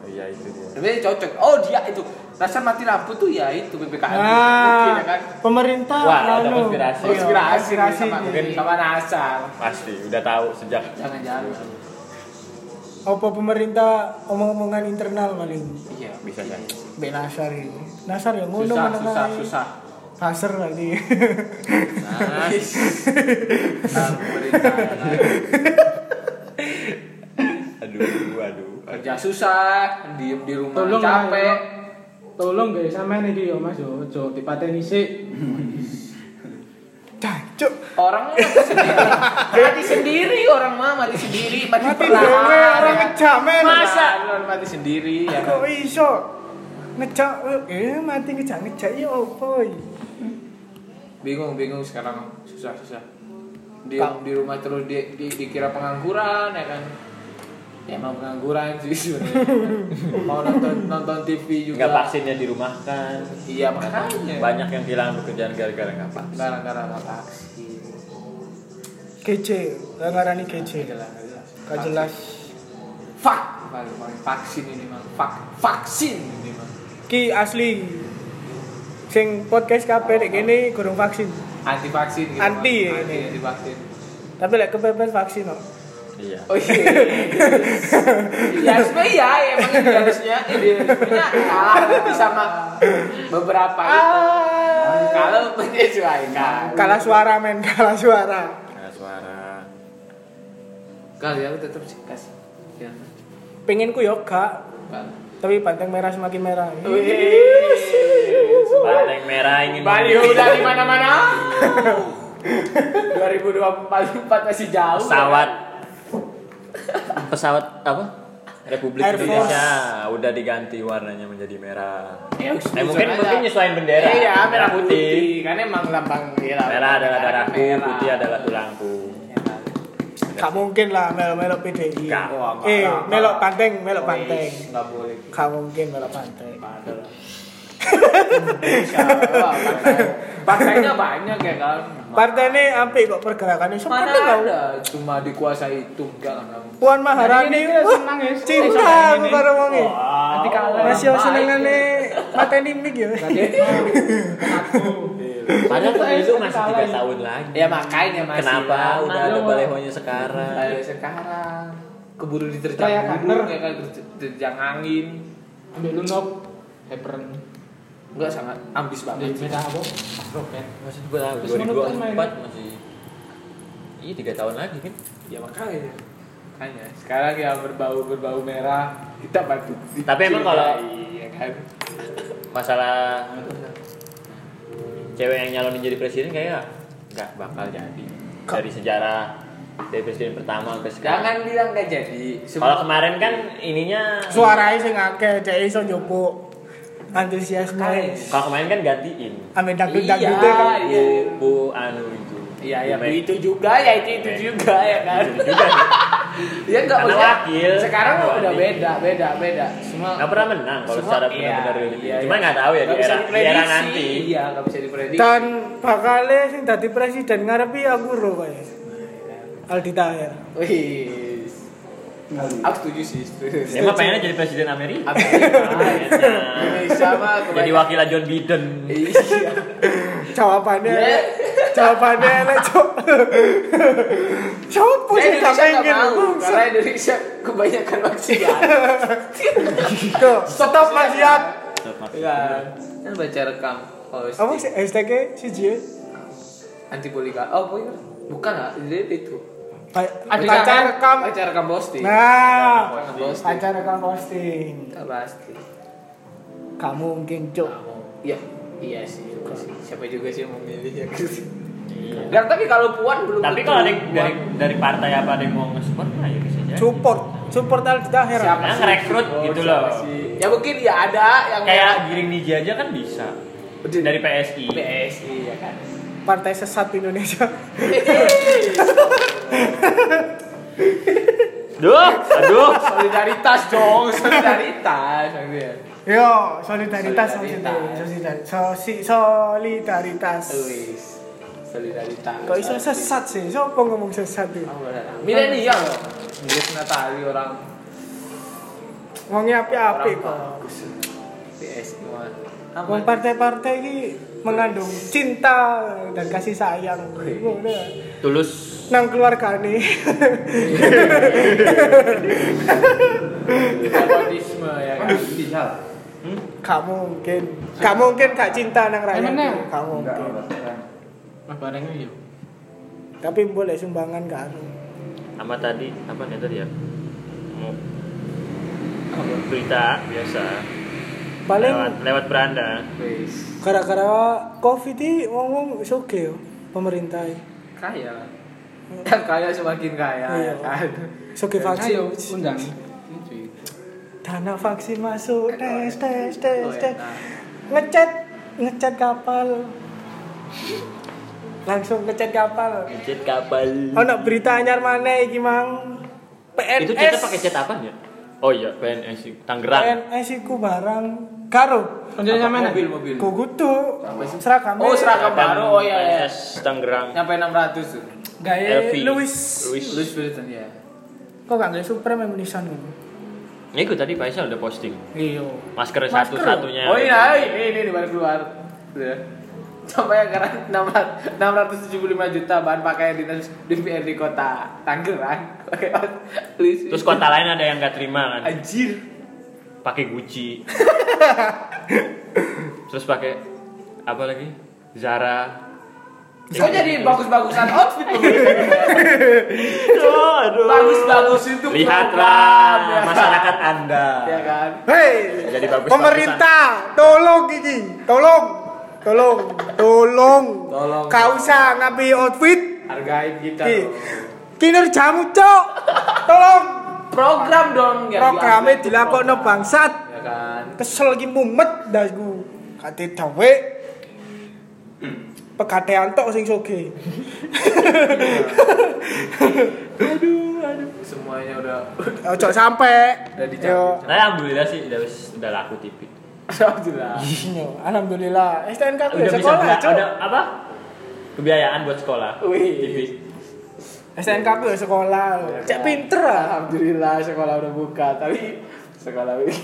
Speaker 3: Oh, Iya itu dia.
Speaker 2: Tapi cocok. Oh, dia itu. Rasa mati lampu tuh ya itu PPKM. Mungkin
Speaker 1: nah
Speaker 2: ya kan.
Speaker 1: pemerintah
Speaker 3: Wah, ada
Speaker 1: lalu.
Speaker 3: konspirasi.
Speaker 1: Iya,
Speaker 2: Konspirasi nih
Speaker 1: konspirasi
Speaker 2: sama,
Speaker 1: nih.
Speaker 2: sama Nasar.
Speaker 3: Pasti udah tahu sejak.
Speaker 2: Jangan-jangan.
Speaker 1: apa pemerintah omong-omongan internal paling
Speaker 2: Iya.
Speaker 3: Bisa kan? jadi.
Speaker 1: Mbak Nasar ini Nasar ya ngono
Speaker 2: Susah,
Speaker 1: menengahi.
Speaker 2: susah, susah.
Speaker 1: kasar nanti
Speaker 2: Nah, pemerintah.
Speaker 3: Aduh, aduh.
Speaker 2: Kerja susah, diem di rumah
Speaker 4: Tolong,
Speaker 2: capek.
Speaker 4: Tolong guys, sampean iki yo Mas yo, ojo dipateni sik.
Speaker 1: [LAUGHS] cacuk
Speaker 2: Orang mah mati sendiri. Mati sendiri orang mah mati sendiri, mati,
Speaker 1: mati
Speaker 2: perlahan,
Speaker 1: dewe
Speaker 2: ya
Speaker 1: orang
Speaker 2: kan?
Speaker 1: ngejamin
Speaker 2: Masa Lu mati sendiri ya kan?
Speaker 1: kok iso ngejak eh mati ngejak ngejak ya apa ya?
Speaker 2: Bingung bingung sekarang susah susah. Di di rumah terus di, di- dikira pengangguran ya kan. Ya emang pengangguran sih sebenarnya. Mau nonton nonton TV juga.
Speaker 3: Nggak vaksinnya dirumahkan.
Speaker 2: Iya makanya.
Speaker 3: Banyak yang kehilangan pekerjaan gara-gara nggak vaksin.
Speaker 2: Gara-gara nggak vaksin.
Speaker 1: kece gak ngarani kece
Speaker 2: Jelas, jelas.
Speaker 1: gak jelas
Speaker 2: Fuck. Paling- paling Vaksin ini mah. Fuck. Vaksin ini mah.
Speaker 1: ki asli sing podcast kabeh dek kene kurang vaksin
Speaker 2: Anti vaksin. Gitu,
Speaker 1: Anti
Speaker 2: Bang.
Speaker 1: ya
Speaker 2: anti,
Speaker 1: ini.
Speaker 2: anti vaksin.
Speaker 1: tapi lek kepepet vaksin kok
Speaker 3: Iya.
Speaker 2: Oh iya. [LAUGHS] ya sebenarnya ya emang idealisnya idealismenya kalah tapi sama beberapa itu. Kalau kan. menyesuaikan.
Speaker 1: [LAUGHS] Kalah suara men, kalah suara.
Speaker 3: Nah, suara.
Speaker 2: Kalau ya aku tetap sih kas. Ya.
Speaker 1: Pengen ku yoga, tapi panteng merah semakin merah.
Speaker 3: Banteng merah ingin
Speaker 2: Baliho dari mana-mana. 2024 masih jauh.
Speaker 3: pesawat pesawat apa Republik
Speaker 1: Air Force.
Speaker 3: Indonesia udah diganti warnanya menjadi merah.
Speaker 2: Ya,
Speaker 3: Eh, mungkin
Speaker 2: aja.
Speaker 3: mungkin nyesuaiin bendera.
Speaker 2: Iya, merah putih. Kan emang lambang ya, lambang
Speaker 3: Merah adalah
Speaker 2: negara kan
Speaker 3: darahku,
Speaker 2: merah. Ya,
Speaker 3: putih adalah tulangku.
Speaker 1: Gak mungkin lah melok-melok PDI.
Speaker 3: Gak,
Speaker 2: wah, gak,
Speaker 1: eh,
Speaker 2: gak,
Speaker 1: melok
Speaker 2: gak.
Speaker 1: panteng, melok
Speaker 2: Oh,
Speaker 1: panteng.
Speaker 2: ish, nggak boleh.
Speaker 1: Gak mungkin melok panteng.
Speaker 2: Padahal. [LAUGHS] Insya Allah, partai- Partainya banyak ya kan.
Speaker 1: Partai ini ampe kok pergerakannya
Speaker 2: Mana
Speaker 1: seperti kau.
Speaker 2: ada cuma dikuasai tunggal.
Speaker 1: Puan Maharani,
Speaker 4: Ini, ini,
Speaker 1: wah,
Speaker 4: nangis.
Speaker 1: cinta
Speaker 4: Eh,
Speaker 1: aku karo wong iki.
Speaker 4: Nanti kalah.
Speaker 1: Masih senengane mateni mik ya.
Speaker 3: Padahal
Speaker 4: Itu
Speaker 3: pemilu
Speaker 4: aja
Speaker 3: masih tiga
Speaker 4: salah.
Speaker 3: tahun lagi.
Speaker 2: Ya makanya masih
Speaker 3: Kenapa
Speaker 2: lama. Iya.
Speaker 3: udah ada balehonya sekarang?
Speaker 2: Ayo ya, sekarang keburu
Speaker 4: Kayak
Speaker 2: diterjang
Speaker 4: kaner.
Speaker 2: burung ya kan diterj- diterjang angin.
Speaker 4: Ambil lu nok. Apron.
Speaker 2: Enggak sangat ambis
Speaker 4: Di
Speaker 2: banget.
Speaker 4: beda apa? Roket.
Speaker 3: Masih dua tahun.
Speaker 4: Terus
Speaker 3: Dua ribu
Speaker 4: menurut kan
Speaker 3: empat masih. Iya tiga tahun lagi kan?
Speaker 2: Ya makanya. Makanya sekarang ya berbau berbau merah kita bantu.
Speaker 3: Tapi emang kalau-
Speaker 2: iya kan.
Speaker 3: Masalah cewek yang nyalonin jadi presiden kayaknya nggak bakal jadi. Dari sejarah dari presiden pertama ke sekarang.
Speaker 2: Jangan bilang nggak jadi. Semua
Speaker 3: Kalau kemarin kan ininya
Speaker 1: Suarai sing akeh, dek iso njupuk antusiasme.
Speaker 3: kalau kemarin kan gantiin
Speaker 1: Ambe
Speaker 2: Iya.
Speaker 1: dangdut-dangdute kan.
Speaker 3: Bu, Bu Anu itu.
Speaker 2: Iya ya
Speaker 3: Bu Meg-
Speaker 2: itu juga ya itu itu
Speaker 3: Meg.
Speaker 2: juga ya kan.
Speaker 3: Iya, Itu juga.
Speaker 2: [LAUGHS] Ya enggak
Speaker 3: Karena
Speaker 2: maksudnya
Speaker 3: wakil.
Speaker 2: Sekarang
Speaker 3: Wakil.
Speaker 2: udah beda beda beda. Semua
Speaker 3: Nggak pernah menang kalau
Speaker 2: Semua-
Speaker 3: secara
Speaker 2: iya,
Speaker 3: benar-benar real.
Speaker 2: iya,
Speaker 3: Cuma
Speaker 2: iya.
Speaker 3: nggak tahu ya di
Speaker 2: Nggak bisa
Speaker 3: era, di era
Speaker 2: diprediksi.
Speaker 3: nanti.
Speaker 2: Iya nggak bisa diprediksi.
Speaker 1: Dan bakale sing dadi presiden ngarepi aku ro kaya. Aldi Tahir.
Speaker 2: Wih. Aku setuju sih. setuju.
Speaker 3: Emang pengennya jadi presiden Amerika.
Speaker 2: Iya.
Speaker 3: Pengennya.
Speaker 2: Indonesia mah
Speaker 3: Nah. jadi
Speaker 2: kebanyakan-
Speaker 3: wakilan John Biden.
Speaker 2: Iya.
Speaker 1: Jawabannya
Speaker 2: Iya.
Speaker 1: elek. Jawabannya elek, Cok. Sopo
Speaker 2: Eh,
Speaker 1: sing
Speaker 2: Indonesia
Speaker 1: gak
Speaker 2: nggak
Speaker 1: pengen
Speaker 2: mau,
Speaker 1: bangsa?
Speaker 2: karena Indonesia kebanyakan maksiat.
Speaker 1: Tuh, Stop maksiat.
Speaker 2: Iya. Kan baca rekam Oh, posting.
Speaker 1: Apa sih hashtagnya si Jie?
Speaker 2: Anti poliga. Oh, poliga. Bukan lah, jadi itu.
Speaker 1: Pacar rekam.
Speaker 2: Baca rekam posting.
Speaker 1: Nah,
Speaker 2: Rekam posting.
Speaker 1: pacar rekam posting.
Speaker 2: Nggak pasti.
Speaker 1: Gak mungkin, Cok.
Speaker 2: Iya. Iya sih, juga sih. Siapa juga sih yang
Speaker 3: [LAUGHS]
Speaker 2: memilih ya Dan tapi kalau Puan belum
Speaker 3: Tapi
Speaker 2: tentu.
Speaker 3: kalau ada yang dari
Speaker 2: Puan-
Speaker 3: dari partai apa ada yang mau nge-support nah ya bisa jadi.
Speaker 1: Support, support Aldi Tahir.
Speaker 2: siapa
Speaker 3: Yang
Speaker 2: sih?
Speaker 3: rekrut
Speaker 2: Oh,
Speaker 3: gitu
Speaker 2: siapa
Speaker 3: loh.
Speaker 2: sih? Ya mungkin ya ada yang
Speaker 3: Kayak Giring Niji aja kan bisa.
Speaker 2: Betul.
Speaker 3: Dari PSI.
Speaker 2: PSI ya kan. [LAUGHS]
Speaker 1: Partai sesat Indonesia.
Speaker 3: Duh, aduh.
Speaker 2: solidaritas dong, solidaritas maksudnya.
Speaker 1: [LAUGHS] Yo, solidaritas
Speaker 2: Solidaritas.
Speaker 1: maksudnya. Solidaritas. Sosi- Solidaritas.
Speaker 2: Luis. Solidaritas.
Speaker 1: Kok iso sesat sih? Sopo ngomong sesat tuh?
Speaker 2: Oh, beneran. Milenial loh. Milik Natali orang
Speaker 1: Wongnya api-api
Speaker 2: orang
Speaker 1: kok.
Speaker 2: bagus. PSI mah.
Speaker 1: Wong partai-partai ini mengandung cinta dan kasih sayang.
Speaker 2: Wih.
Speaker 1: Ngono.
Speaker 3: Tulus.
Speaker 1: Nang keluarga [LAUGHS] nih.
Speaker 2: Nepotisme ya kan.
Speaker 1: Gak mungkin. Gak mungkin gak cinta nang rakyat.
Speaker 4: Emangnya?
Speaker 1: Gak mungkin.
Speaker 4: Mah barangnya yuk.
Speaker 1: Tapi boleh sumbangan gak anu.
Speaker 3: Sama tadi apa nih tadi ya? Mau berita biasa lewat
Speaker 1: Paling
Speaker 3: lewat beranda
Speaker 2: Luis.
Speaker 1: gara-gara Covid ini wong-wong soge yo pemerintah.
Speaker 2: Kaya. Kan kaya semakin kaya
Speaker 1: Iya.
Speaker 2: ya kan.
Speaker 1: Soge
Speaker 4: Ayo
Speaker 1: vaksin.
Speaker 4: undang.
Speaker 1: Dana vaksin masuk tes tes tes
Speaker 2: Oh,
Speaker 1: tes.
Speaker 2: enak.
Speaker 1: Ngecat ngecat kapal. Langsung ngecat kapal.
Speaker 3: Jet kabel.
Speaker 1: Ono berita anyar mana iki mang? PNS.
Speaker 3: Itu chatnya pakai chat apa ya? Oh iya, PNS Tangerang.
Speaker 1: PNS iku barang karo.
Speaker 4: Undang sama mana?
Speaker 2: Mobil mobil.
Speaker 1: Kugutu. Seragam.
Speaker 2: Oh, seragam baru. Oh iya iya.
Speaker 3: PNS Tangerang.
Speaker 2: Nyampe 600 tuh.
Speaker 1: Gawe
Speaker 3: Elvi.
Speaker 1: Luis.
Speaker 3: Luis.
Speaker 2: Luis Wilson ya.
Speaker 1: Kok gak gawe Supreme Munisan ngono?
Speaker 3: Ini gue Ya, tadi Faisal udah posting.
Speaker 1: Iya.
Speaker 3: Masker,
Speaker 1: Masker.
Speaker 2: iya, eh,
Speaker 3: satu-satunya.
Speaker 2: Oh iya, ini ini ini baru keluar. Tuh ya. sampai anggaran 600 675 juta bahan pakaian dinas DPRD kota Tangerang pakai list
Speaker 3: Terus kota lain ada yang gak terima kan?
Speaker 2: anjir
Speaker 3: Pakai Gucci. Terus pakai apa lagi? Zara.
Speaker 2: kok jadi bagus-bagusan outfit lu?
Speaker 3: Aduh.
Speaker 2: bagus-bagus itu
Speaker 3: Lihatlah
Speaker 2: program, ya.
Speaker 3: masyarakat Anda.
Speaker 2: ya kan
Speaker 1: Hei,
Speaker 3: Jadi bagus-bagusan.
Speaker 1: pemerintah, tolong ini, tolong, tolong, tolong,
Speaker 2: Tolong.
Speaker 1: Kau usah ngambil outfit,
Speaker 2: hargain kita
Speaker 1: Ki-
Speaker 2: loh.
Speaker 1: kinerjamu cok, tolong.
Speaker 2: program dong
Speaker 3: Iya,
Speaker 2: yang
Speaker 1: Programnya
Speaker 2: diupload itu
Speaker 1: dilakukan
Speaker 2: program.
Speaker 1: bangsat,
Speaker 2: ya kan
Speaker 1: kesel lagi mumet dah gue, kate tawe, pegatean tok sing soge.
Speaker 2: semuanya udah [LAUGHS]
Speaker 1: Ojo sampai.
Speaker 2: Udah dicampur.
Speaker 1: Yo.
Speaker 3: Nah, alhamdulillah sih udah udah laku TV.
Speaker 2: alhamdulillah
Speaker 1: Yo, Alhamdulillah. STNK aku
Speaker 3: Udah
Speaker 1: ya
Speaker 3: bisa
Speaker 1: sekolah,
Speaker 3: bela-
Speaker 1: Cok.
Speaker 3: udah apa? Kebiayaan buat sekolah.
Speaker 2: Wih.
Speaker 3: TV.
Speaker 1: STNK aku ya sekolah. Cek pinter ah.
Speaker 2: alhamdulillah sekolah udah buka tapi sekolah wiki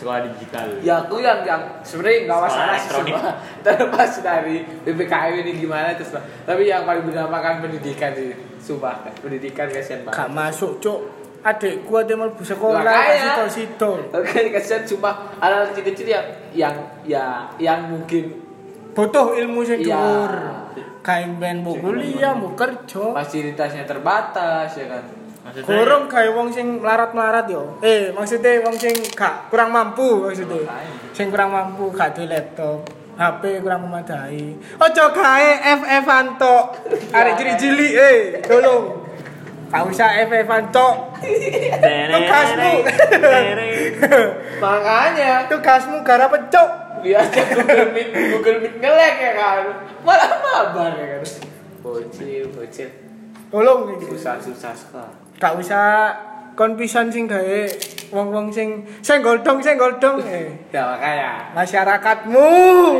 Speaker 3: Sekolah digital.
Speaker 2: [LAUGHS] ya aku yang yang sebenarnya nggak masalah sih
Speaker 3: Elektronik.
Speaker 2: semua [LAUGHS] terlepas dari ppkm ini gimana terus tapi yang paling berdampak kan pendidikan sih sumpah pendidikan kasihan banget
Speaker 1: Gak masuk, Cok. Adik gua dia mau sekolah,
Speaker 2: Lah, kaya.
Speaker 1: kasih sido.
Speaker 2: Oke, [LAUGHS] kasihan cuma anak kecil-kecil yang yang ya yang mungkin
Speaker 1: Butuh ilmu sing
Speaker 2: Iya.
Speaker 1: dhuwur. Kain ben mau kuliah, mau kerja.
Speaker 2: fasilitasnya terbatas ya kan.
Speaker 3: Maksudnya
Speaker 1: Gorong kayak wong sing melarat-melarat yo. Eh, maksudnya wong sing gak kurang mampu maksudnya. Sing kurang mampu gak duwe laptop. HP kurang memadai. Ojo gawe FF antok. Arek
Speaker 2: Iya,
Speaker 1: ciri-cili eh, tolong. Gak usah FF antok. Tugasmu.
Speaker 2: Makanya
Speaker 1: [LAUGHS] Tugasmu gara pecok.
Speaker 2: biasa Iya, Google Meet Google Meet ngelek ya kan. Malah mabar ya kan. Bocil, bocil.
Speaker 1: Tolong iki.
Speaker 2: Susah-susah sekolah.
Speaker 1: Gak usah kon pisan sing gawe wong-wong sing sing goldong sing
Speaker 2: [LAUGHS]
Speaker 1: goldong eh.
Speaker 2: Ya makanya
Speaker 1: Masyarakatmu,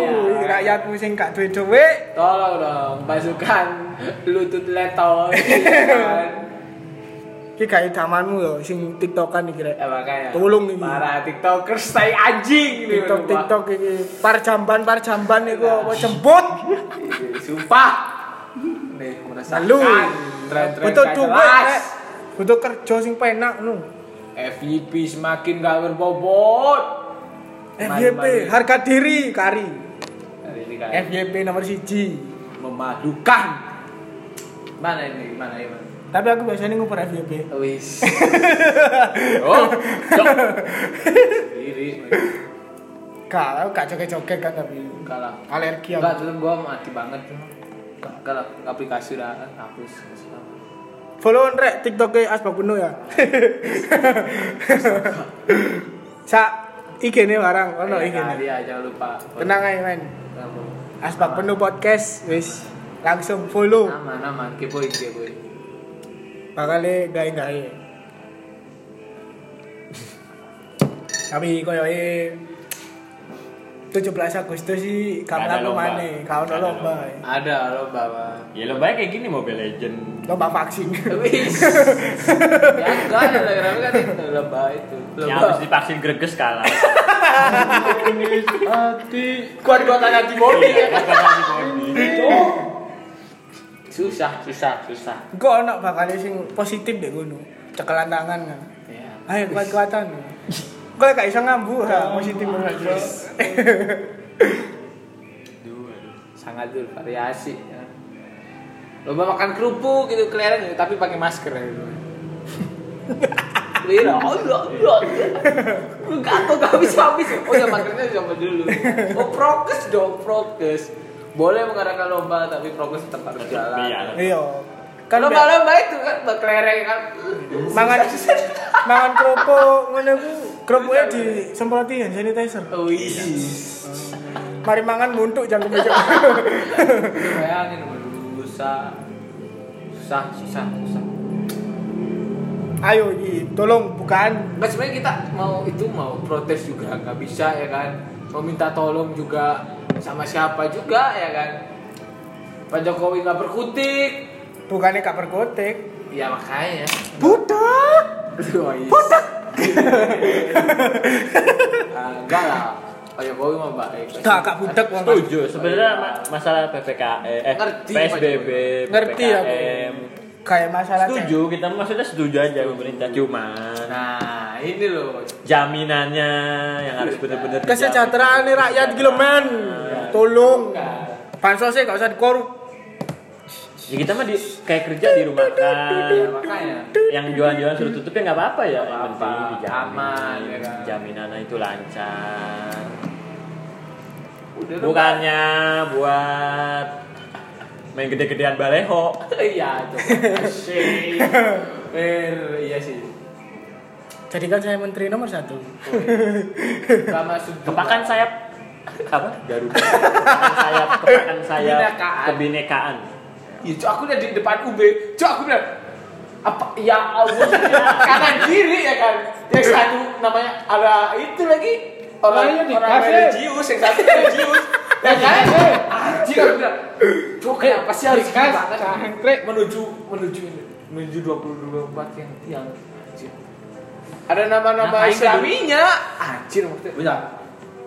Speaker 2: Iya.
Speaker 1: rakyatmu sing gak duwe duit
Speaker 2: tolong dong pasukan lutut letoy ya kan.
Speaker 1: Iki gak idamanmu yo sing TikTokan iki rek.
Speaker 2: Ya makanya.
Speaker 1: Tolong ini.
Speaker 2: Para TikTokers tai anjing ini,
Speaker 1: TikTok
Speaker 2: sumpah.
Speaker 1: TikTok iki parjamban parjamban iku apa
Speaker 2: Iya.
Speaker 1: jemput.
Speaker 2: Ih, Sumpah. Nih merasakan
Speaker 1: Lalu
Speaker 2: tren-tren
Speaker 1: butuh
Speaker 2: gak
Speaker 1: duit
Speaker 2: jelas.
Speaker 1: rek. Butuh kerja sing penak nu.
Speaker 2: FYP semakin gak berbobot.
Speaker 1: FYP
Speaker 2: Mari-mari.
Speaker 1: harga diri kari.
Speaker 2: Hari ini kan
Speaker 1: FYP nomor siji
Speaker 2: memadukan. Mana ini? Mana ini?
Speaker 1: Tapi aku biasanya ngumpul FYP.
Speaker 3: [LAUGHS]
Speaker 2: Wis.
Speaker 3: Oh, cok.
Speaker 2: Diri.
Speaker 1: Gak, aku gak joget-joget kan tapi
Speaker 2: Kalah.
Speaker 3: Iya.
Speaker 1: alergi
Speaker 2: Enggak,
Speaker 1: aku.
Speaker 2: dulu gua mati banget. Kalah aplikasi udah hapus.
Speaker 1: Follow rek TikTok Asbakuno
Speaker 3: [LAUGHS]
Speaker 1: ya. Sa IG-ne barang
Speaker 3: Oh,
Speaker 1: ono
Speaker 2: Iya,
Speaker 1: IG-ne.
Speaker 2: Iya, jangan lupa.
Speaker 1: Tenang aja men.
Speaker 2: Kamu.
Speaker 1: Asbak penuh podcast, wis langsung follow.
Speaker 2: Aman, aman. Kepoin, kepoin.
Speaker 1: Bakale
Speaker 3: [LAUGHS]
Speaker 1: gawe-gawe. Tapi koyo e 17 Agustus sih
Speaker 3: Gak ada
Speaker 1: kapan aku
Speaker 3: lomba.
Speaker 1: maneh, kau
Speaker 3: Gak
Speaker 1: ono
Speaker 3: ada
Speaker 1: lomba.
Speaker 3: lomba.
Speaker 1: e.
Speaker 2: Ada lo bawa.
Speaker 3: Ya lombanya kayak gini Mobile Legend.
Speaker 1: Lomba vaksin.
Speaker 2: Wis.
Speaker 1: [LAUGHS]
Speaker 2: Ya enggak ada kenapa kan itu lomba itu.
Speaker 3: Yang Ya, habis divaksin greges kalah.
Speaker 2: Hati. Kuat kuatan antibody ya
Speaker 3: Iya, kan
Speaker 2: kan.
Speaker 3: karena antibody.
Speaker 2: Susah, susah, susah.
Speaker 1: Kok ono bakale sing positif deh ngono. Cekelan tangan kan.
Speaker 2: Ya.
Speaker 1: Ayo kuat-kuatan. Kok gak iso ngambu ha positif menurut gue.
Speaker 3: Aduh, aduh.
Speaker 2: Sangat bervariasi. Ya. Lomba makan kerupuk gitu kelereng gitu, tapi pakai masker ya gitu. Lira, oh iya, iya, iya. Enggak, kok gak bisa habis. Oh ya maskernya coba dulu. Oh prokes dong, prokes. Boleh mengadakan lomba, tapi prokes tetap harus jalan.
Speaker 3: Iya.
Speaker 1: Iya. Kan
Speaker 2: Kalau
Speaker 1: be-
Speaker 2: lomba-lomba itu kan buat kelereng kan.
Speaker 1: mangan mangan kerupuk ngono ku kerupuknya disemproti hand sanitizer
Speaker 2: Wih.
Speaker 1: mari mangan muntuk jangan kebocok
Speaker 2: Bayangin waduh, susah. Susah, susah, susah.
Speaker 1: [LAUGHS] ayo Yi, tolong bukaan
Speaker 2: Nah, sebenarnya kita mau itu mau protes juga nggak bisa ya kan. Mau minta tolong juga sama siapa juga ya kan. Pak Jokowi nggak berkutik.
Speaker 1: bukannya gak berkotek
Speaker 2: Ya makanya. [LAUGHS] Oh, iya.
Speaker 1: budak
Speaker 2: Aduh, Ais. kan enggak lah Pak Jokowi mah baik
Speaker 1: [LAUGHS] Gak, gak budek wong.
Speaker 3: Setuju. Sebenarnya ma- masalah PPKM, eh,
Speaker 2: Ngerti,
Speaker 3: PSBB,
Speaker 1: Ngerti aku.
Speaker 3: PPKM.
Speaker 1: Kayak masalah
Speaker 3: Setuju, kita maksudnya setuju aja pemerintah. Cuman
Speaker 2: nah ini loh
Speaker 3: jaminannya yang harus benar-benar
Speaker 1: kesejahteraan nih rakyat gila men. Tolong. Bansosnya gak usah dikorup.
Speaker 3: Ya kita mah di kayak kerja di rumah
Speaker 2: ya,
Speaker 3: kan.
Speaker 2: makanya
Speaker 3: Yang jualan-jualan suruh tutup ya nggak apa-apa ya. Yang
Speaker 2: apa-apa,
Speaker 3: penting dijamin.
Speaker 2: aman, ya kan.
Speaker 3: Jaminannya itu lancar.
Speaker 2: udah lah,
Speaker 3: Bukannya buat main gede-gedean baleho.
Speaker 2: Pak. iya coba Asik. per iya sih
Speaker 1: Jadikan kan saya menteri nomor satu.
Speaker 2: gak masuk juga.
Speaker 3: Kepakan sayap apa? [LAUGHS] Garuda. Kepakan sayap, kepakan sayap
Speaker 2: Kebinekaan.
Speaker 3: kebinekaan.
Speaker 2: Ya, cok, aku udah di depan UB. Cok, aku bilang apa ya Allah [LAUGHS] kanan kiri ya kan yang satu namanya ada itu lagi
Speaker 4: Lah, iya,
Speaker 2: orang orang
Speaker 4: dikasih.
Speaker 2: religius yang satu religius [LAUGHS] ya Eh, kan [LAUGHS] anjir aku bilang cok kenapa sih harus
Speaker 4: Dikasih,
Speaker 2: kita
Speaker 4: cangkrek.
Speaker 2: menuju menuju ini menuju 2024 yang yang anjir. ada nama-nama
Speaker 3: Nah, aing
Speaker 2: islaminya anjir maksudnya
Speaker 4: Bisa.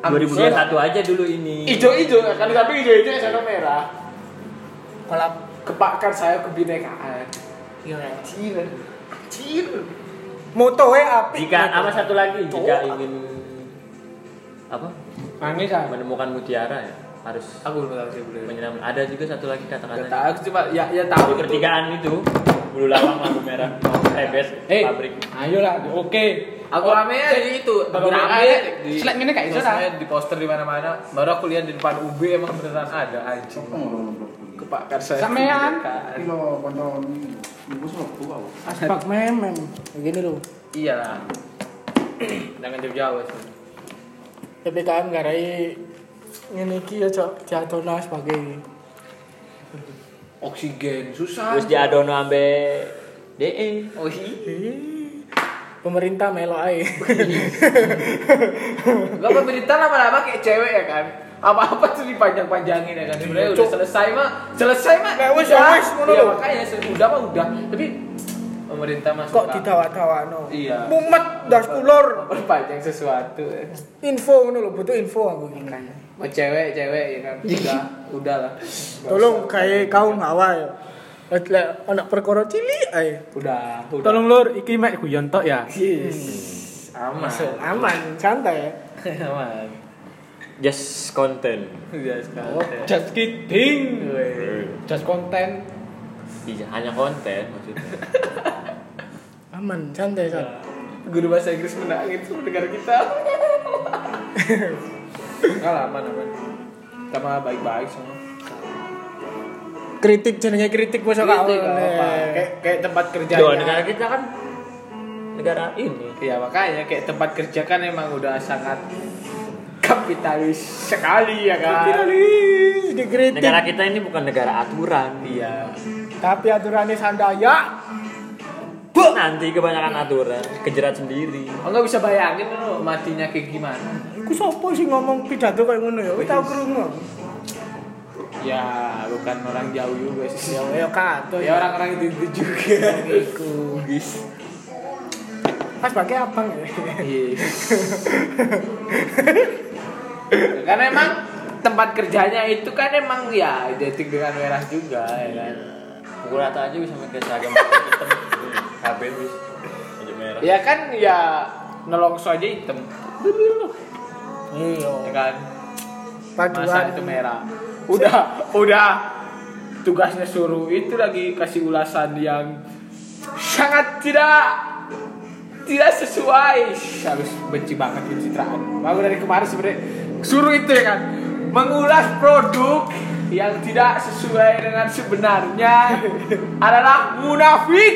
Speaker 3: 2021 aja dulu ini.
Speaker 2: ijo-ijo ya kan tapi ijo-ijo yang sana merah
Speaker 1: Kolab.
Speaker 2: kepakan saya kebinekaan yang anjir anjir
Speaker 1: Moto eh api.
Speaker 3: Jika sama satu lagi jika
Speaker 2: Cowok.
Speaker 3: ingin apa?
Speaker 4: Nangis ah.
Speaker 3: Menemukan mutiara ya harus
Speaker 2: aku belum tahu sih boleh
Speaker 3: menyelam ada juga satu lagi
Speaker 2: nggak
Speaker 3: kata-kata
Speaker 2: tahu aku cuma ya ya
Speaker 3: di
Speaker 2: tahu itu
Speaker 3: pertigaan itu bulu lawang lampu merah eh bes
Speaker 4: Eh,
Speaker 3: pabrik
Speaker 4: ayo lah, oke.
Speaker 2: aku rame ya di itu
Speaker 4: Baru rame, slide ini kayak gitu,
Speaker 2: sosmed, di poster di mana-mana baru aku lihat di depan UB emang beneran ada anjir kepakan saya
Speaker 4: Sampean.
Speaker 2: kebinekaan.
Speaker 5: Kilo kontol ini. Ibu selaku aku.
Speaker 1: Aspak memem. Begini loh.
Speaker 2: iyalah jangan jauh-jauh sih
Speaker 1: PPKM garai ngene iki ya cok diadono sebagai
Speaker 2: oksigen susah
Speaker 3: terus di adono ambe E. de
Speaker 2: oh iya
Speaker 1: pemerintah melo ae.
Speaker 2: Gak pemerintah lama-lama kayak cewek ya kan apa-apa tuh dipanjang-panjangin ya kan
Speaker 1: Iya,
Speaker 2: sebenarnya udah selesai mah selesai mah
Speaker 1: Kayak wes,
Speaker 2: udah.
Speaker 1: wes, ya ngono
Speaker 2: Iya,
Speaker 1: lho.
Speaker 2: makanya se- udah mah udah tapi pemerintah mah
Speaker 1: Kok
Speaker 2: suka
Speaker 1: ditawa-tawano?
Speaker 2: Iya.
Speaker 1: Mumet das kulur.
Speaker 2: memperpanjang sesuatu ya.
Speaker 1: Info ngono lho, butuh info aku iki.
Speaker 2: mau cewek cewek ya kan udah udah lah
Speaker 1: Iya. Tolong kae kaum hawa ya. Wes Lek anak perkara cilik ae.
Speaker 2: udah udah
Speaker 4: Tolong lur, iki mek guyon tok ya.
Speaker 2: yes. aman
Speaker 1: Masuk aman, santai ya.
Speaker 2: aman
Speaker 3: just content
Speaker 2: udah sekarang
Speaker 4: Oh, just kidding. Just konten.
Speaker 3: iya hanya konten maksudnya
Speaker 1: Aman, santai
Speaker 2: Iya.
Speaker 1: santai.
Speaker 2: guru bahasa Inggris menangis mendengar
Speaker 1: [LAUGHS]
Speaker 2: kita Enggak lah aman aman kita mah baik-baik semua
Speaker 1: Kritik jenenge kritik masa
Speaker 3: Gitu,
Speaker 1: gak
Speaker 2: Kritik, gak apa-apa.
Speaker 3: Iya.
Speaker 1: oleh.
Speaker 2: Gitu, kayak kayak tempat kerja
Speaker 3: Doa
Speaker 2: ya.
Speaker 3: negara kita kan negara ini
Speaker 2: ya makanya kayak tempat kerja kan emang udah sangat kapitalis sekali ya kan
Speaker 1: Kapitalis dikritik.
Speaker 3: negara kita ini bukan negara aturan
Speaker 2: iya
Speaker 1: Tapi aturannya sandaya.
Speaker 3: nanti kebanyakan aturan kejerat sendiri
Speaker 2: enggak Oh, bisa bayangin lu matinya kayak gimana
Speaker 1: Iku sapa sih ngomong pidato kayak ngono ya? Kuwi tau krungu. Oh,
Speaker 2: ya bukan orang jauh juga sih ya,
Speaker 1: Ya kato
Speaker 2: ya
Speaker 1: ya.
Speaker 2: orang-orang itu, itu juga
Speaker 1: Iku. Pas pakai abang
Speaker 2: [LAUGHS]
Speaker 1: ya.
Speaker 2: Iya. Karena emang tempat kerjanya itu kan emang ya identik dengan merah juga ya kan.
Speaker 3: pukul Iya. rata aja bisa pakai seragam hitam KB bis baju merah
Speaker 2: Ya kan ya nelongso aja hitam.
Speaker 1: Iya.
Speaker 2: Ya kan. Masa
Speaker 1: Paduan [LAUGHS]
Speaker 2: itu merah. Udah, udah tugasnya suruh itu lagi kasih ulasan yang sangat tidak tidak sesuai harus benci banget pencitraan aku dari kemarin sebenarnya suruh itu ya kan mengulas produk yang tidak sesuai dengan sebenarnya adalah munafik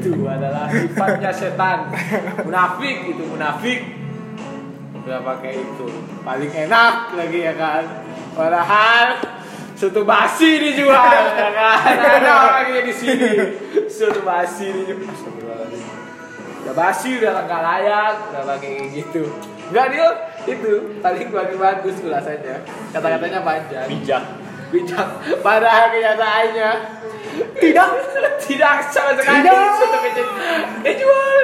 Speaker 2: itu adalah sifatnya setan munafik itu munafik udah pakai itu paling enak lagi ya kan padahal soto basi dijual ya kan ada orangnya di sini soto basi dijual Astagfirullahaladzim udah basi udah nggak layak udah pakai kayak gitu nggak dia itu paling bagus bagus ulasannya kata katanya panjang
Speaker 3: bijak
Speaker 2: bijak padahal kenyataannya tidak tidak sama sekali
Speaker 1: Tidak.
Speaker 2: suatu kecil dijual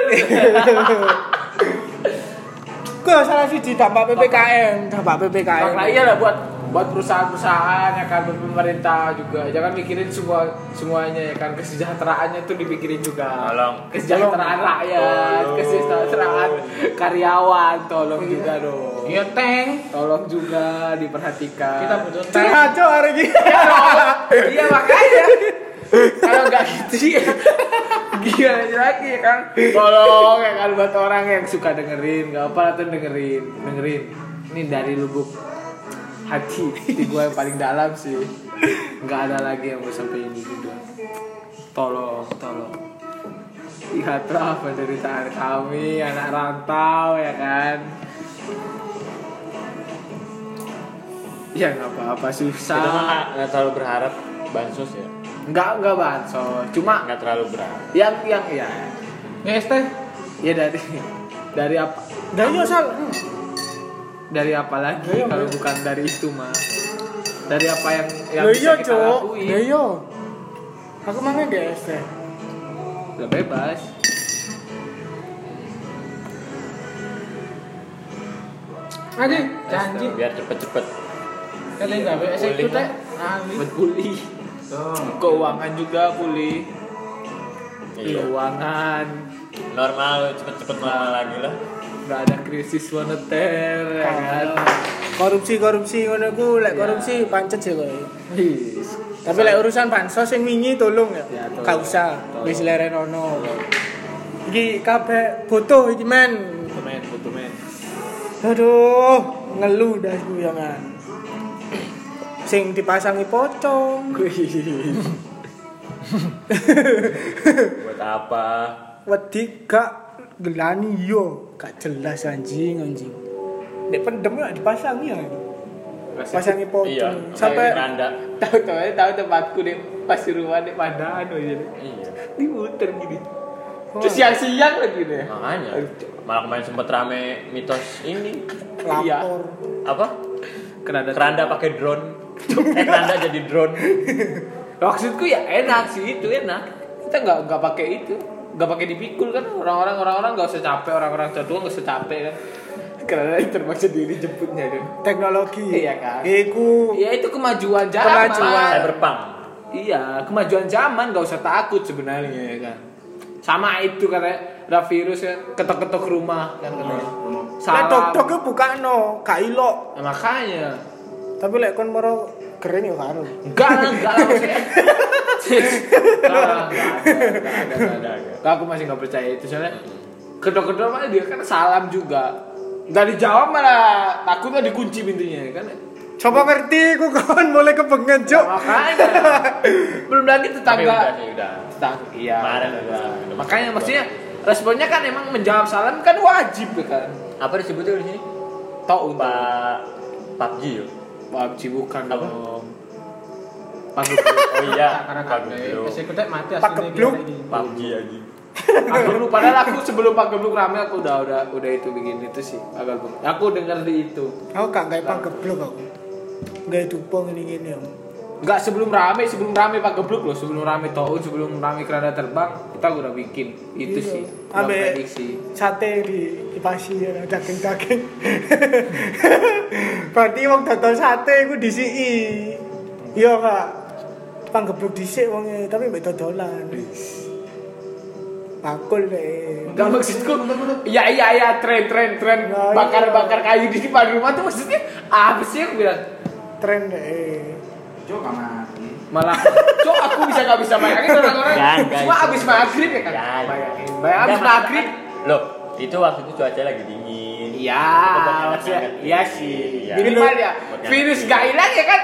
Speaker 1: Ku juga salah siji dampak PPKM, dampak PPKM.
Speaker 2: Karena iya lah buat buat perusahaan-perusahaan ya kan buat pemerintah juga jangan mikirin semua semuanya ya kan kesejahteraannya tuh dipikirin juga
Speaker 3: Tolong.
Speaker 2: kesejahteraan rakyat
Speaker 3: Tolong.
Speaker 2: kesejahteraan karyawan tolong juga dong
Speaker 4: Iya teng.
Speaker 2: tolong juga diperhatikan
Speaker 4: Kita butuh teng.
Speaker 1: Curhat cok hari ini. [LAUGHS]
Speaker 2: iya makanya kalau nggak gitu ya gimana lagi ya kan tolong ya kan buat orang yang suka dengerin nggak apa tuh dengerin dengerin ini dari lubuk hati hati gue yang paling dalam sih nggak ada lagi yang gue sampaikan ini juga tolong tolong lihatlah penderitaan kami anak rantau ya kan ya nggak apa-apa susah
Speaker 3: Kita mah nggak- nggak terlalu berharap bansos ya.
Speaker 2: Enggak, enggak banso. Cuma
Speaker 3: Nggak terlalu berharap.
Speaker 2: yang yang ya.
Speaker 4: Yes teh.
Speaker 2: Ya dari dari apa?
Speaker 1: Dah yo sal.
Speaker 2: Hmm. Dari apa lagi
Speaker 1: Iya,
Speaker 2: kalau
Speaker 1: iya.
Speaker 2: bukan dari itu mah. Dari apa yang yang
Speaker 1: Lah
Speaker 2: bisa
Speaker 1: iya
Speaker 2: kita
Speaker 1: cok.
Speaker 2: lakuin.
Speaker 1: Lah iya. Aku mana guys teh.
Speaker 2: Udah bebas.
Speaker 4: Lagi janji.
Speaker 3: Biar cepet-cepet.
Speaker 4: Kita nggak beres itu teh.
Speaker 2: Buat pulih. Keuangan juga pulih.
Speaker 3: Iya.
Speaker 2: Keuangan.
Speaker 3: Normal cepet-cepet normal lagi lah.
Speaker 2: Enggak ada krisis moneter. ya kan?
Speaker 1: Korupsi-korupsi ngono ku lek
Speaker 2: Iya.
Speaker 1: korupsi pancet sih kowe.
Speaker 2: Wis.
Speaker 1: Tapi lek urusan bansos sing wingi tolong ya.
Speaker 2: Ya, tolong.
Speaker 1: Gak usah
Speaker 2: Tolong.
Speaker 1: wis leren ono. Iki kabeh butuh iki men.
Speaker 2: Butumen, butumen.
Speaker 1: Aduh, ngeluh dah guyangan. Sing dipasangi pocong.
Speaker 3: Buat apa?
Speaker 1: Wedi gak gelani yo, gak jelas anjing anjing. Nek pendem ya dipasangi ya. Pasangi pocong.
Speaker 3: Iya.
Speaker 1: Sampai
Speaker 3: beranda.
Speaker 2: Tahu-tahu tahu tempatku di Pasuruan di Padang Oh, jadi.
Speaker 3: Iya.
Speaker 2: diputer gini terus siang-siang lagi deh
Speaker 3: Makanya. Malah kemarin sempet rame mitos ini
Speaker 2: iya.
Speaker 1: lapor.
Speaker 3: apa?
Speaker 2: keranda
Speaker 3: Keranda pakai drone. Eh keranda jadi drone.
Speaker 2: maksudku ya enak sih itu enak kita nggak nggak pakai itu nggak pakai dipikul kan orang-orang orang-orang nggak usah capek orang-orang tua tua nggak usah capek kan karena terpaksa diri jemputnya kan
Speaker 1: Teknologi.
Speaker 2: Iya, kan?
Speaker 1: Iku
Speaker 2: ya itu kemajuan zaman
Speaker 1: Kemajuan.
Speaker 3: Cyberpunk.
Speaker 2: iya kemajuan zaman nggak usah takut sebenarnya ya kan sama itu katanya ada virus kan ketok-ketok rumah kan katanya
Speaker 1: Lek
Speaker 2: salam
Speaker 1: tok-tok buka no, gak ilok.
Speaker 2: Nah, makanya
Speaker 1: Tapi lek kon moro keren yo karo.
Speaker 2: Enggak lah, enggak lah maksudnya. Enggak lah, enggak ada, enggak ada, enggak ada. Enggak, aku masih enggak percaya itu soalnya kedok-kedok malah dia kan salam juga. Enggak dijawab malah takutnya dikunci pintunya kan.
Speaker 1: Coba ngerti ku kon mulai kepengen cuk.
Speaker 2: Makanya belum lagi
Speaker 3: Tapi
Speaker 2: tetangga.
Speaker 3: udah sih udah.
Speaker 2: Tetangga. Iya.
Speaker 3: Kemarin udah.
Speaker 2: Makanya maksudnya responnya kan emang menjawab salam kan wajib ya kan.
Speaker 3: apa disebutnya di sini?
Speaker 2: Tau Pak.
Speaker 3: Pak PUBG
Speaker 2: [LAUGHS]
Speaker 3: ya?
Speaker 2: Wajib bukan
Speaker 3: Apa?
Speaker 2: dong. Pak
Speaker 3: Oh iya,
Speaker 4: Karena
Speaker 3: Pak
Speaker 4: kabeh.
Speaker 3: Gublo.
Speaker 2: ya,
Speaker 4: Wes iku teh mati
Speaker 1: Pak Gebluk.
Speaker 3: PUBG aja.
Speaker 2: Eh, Pak Gebluk, padahal aku sebelum Pak Gebluk rame aku udah udah udah itu bikin itu sih Pak Gebluk. Aku denger di itu.
Speaker 1: Aku gak gawe panggeblok aku. Gawe dupung ngene-ngene yo.
Speaker 2: Enggak sebelum rame, sebelum rame Pak Gebluk loh, sebelum rame Toun, sebelum rame Keranda Terbang, kita udah bikin itu
Speaker 1: Iya.
Speaker 2: sih. Udah
Speaker 1: Abe.
Speaker 2: prediksi.
Speaker 1: sate di dipasi ya daging-daging. [LAUGHS] Berarti wong dodol sate iku disiki. Iya, Kak. Panggeblok dhisik wonge, tapi mbek dodolan. Bakul deh.
Speaker 2: Enggak maksudku, ya iya iya tren tren
Speaker 1: Ya,
Speaker 2: tren
Speaker 1: iya.
Speaker 2: bakar bakar kayu di depan rumah tuh maksudnya apa sih aku bilang
Speaker 1: Tren deh.
Speaker 5: Cok gak mati.
Speaker 2: malah cok aku bisa nggak bisa bayangin orang-orang
Speaker 3: Jangan,
Speaker 2: cuma
Speaker 3: guys.
Speaker 2: abis maghrib ya kan
Speaker 3: Jangan.
Speaker 2: bayangin bayangin abis
Speaker 3: Iya, Enggak,
Speaker 2: maghrib
Speaker 3: Loh, itu waktu itu cuaca lagi dingin.
Speaker 2: Iya,
Speaker 3: Itu buat
Speaker 2: maksudnya
Speaker 3: hangat-hangat
Speaker 2: iya
Speaker 3: dingin.
Speaker 2: sih.
Speaker 3: Iya.
Speaker 2: Minimal ya.
Speaker 3: Buat
Speaker 2: Virus
Speaker 3: hangat
Speaker 2: gak hilang ya kan?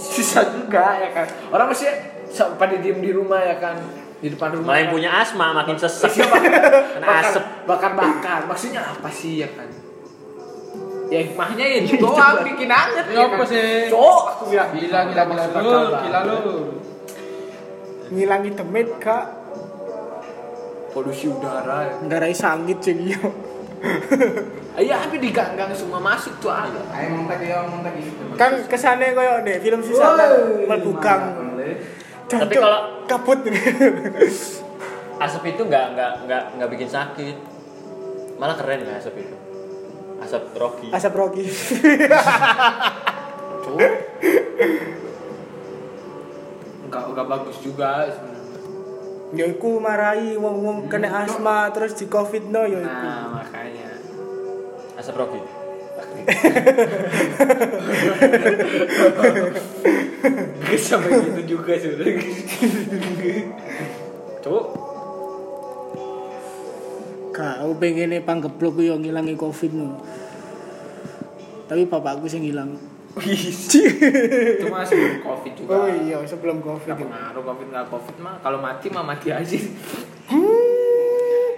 Speaker 2: Susah juga ya kan. Orang masih sa- pada diem di rumah ya kan, di depan
Speaker 3: dingin.
Speaker 2: rumah.
Speaker 3: Malah yang punya asma makin sesek.
Speaker 2: Iya,
Speaker 3: [LAUGHS] Kena asap.
Speaker 2: bakar bakar. Maksudnya apa sih ya kan? Ya hikmahnya ya di doang bikin anget kan?
Speaker 4: Ya apa sih?
Speaker 2: Cok, aku bilang.
Speaker 4: Gila gila gila
Speaker 2: Maksud
Speaker 4: lu,
Speaker 2: bakar
Speaker 4: gila lu.
Speaker 1: Ngilangi demit, Kak.
Speaker 2: Polusi udara ya.
Speaker 1: Ndarai sangit sing yo.
Speaker 2: Iya, tapi di gang-gang semua masuk tuh ah. ada.
Speaker 5: Ayo montek ya, montek gitu.
Speaker 1: [LAUGHS] Kan kesane koyo nek film sisa mlebu gang.
Speaker 3: Tapi
Speaker 1: Jancuk,
Speaker 3: kalau-
Speaker 1: kabut. [LAUGHS]
Speaker 3: Asap itu nggak nggak nggak nggak bikin sakit. Malah keren nggak asap itu. Asap rogi.
Speaker 1: Asap Rocky. [LAUGHS]
Speaker 2: Enggak enggak bagus juga sebenarnya.
Speaker 1: ya iku marahi wong-wong kena asma terus di covid no ya iku.
Speaker 2: Nah, makanya.
Speaker 3: Asap rogi.
Speaker 2: Gak sampai gitu juga sebenarnya.
Speaker 3: Cuk.
Speaker 1: Kau pengen nih panggeblok yo ngilangi covid no. Tapi bapakku sih ngilang.
Speaker 2: Itu masih belum covid juga.
Speaker 1: Oh iya sebelum covid.
Speaker 2: Gak pengaruh covid nggak covid mah kalau mati mah mati aja.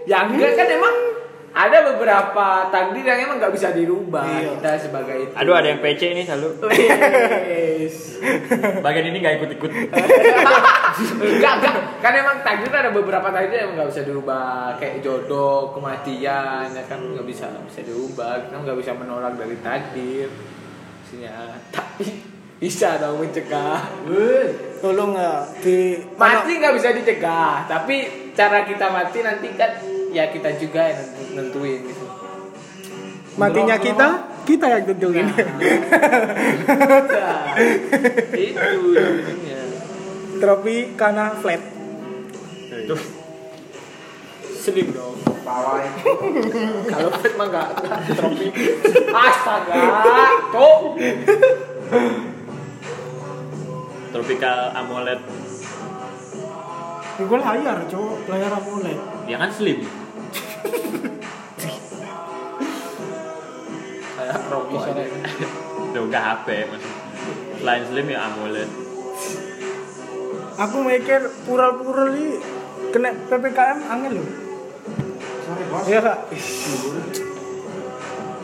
Speaker 2: ya enggak kan emang ada beberapa takdir yang emang nggak bisa dirubah
Speaker 1: Iya.
Speaker 2: kita sebagai itu.
Speaker 3: Aduh ada yang PC ini selalu.
Speaker 2: Wes.
Speaker 3: Bagian ini nggak ikut-ikut.
Speaker 2: enggak enggak kan emang takdir ada beberapa takdir yang nggak bisa dirubah kayak jodoh kematian ya kan nggak bisa nggak bisa dirubah kita nggak bisa menolak dari takdir Maksudnya, tapi bisa dong mencegah Wuh.
Speaker 1: Tolong ya di
Speaker 2: mati nggak bisa dicegah tapi cara kita mati nanti kan ya kita juga yang nentu- nentuin gitu
Speaker 1: matinya
Speaker 2: Belum,
Speaker 1: kita kita yang tentuin.
Speaker 2: Nah, itu jadinya
Speaker 1: [LAUGHS] Tropi karena flat.
Speaker 3: Tuh.
Speaker 2: sedih dong
Speaker 5: bawah
Speaker 2: kalau fit mah nggak nggak trofi astaga tuh
Speaker 3: Tropical AMOLED.
Speaker 1: Gue layar cowok layar AMOLED.
Speaker 3: Ya kan slim.
Speaker 2: kayak rokok aja
Speaker 3: Tuh nggak HP maksudnya. Selain slim ya AMOLED.
Speaker 1: Aku mikir pural-pural ini kena PPKM angin loh.
Speaker 5: sorry bos
Speaker 1: Iya kak.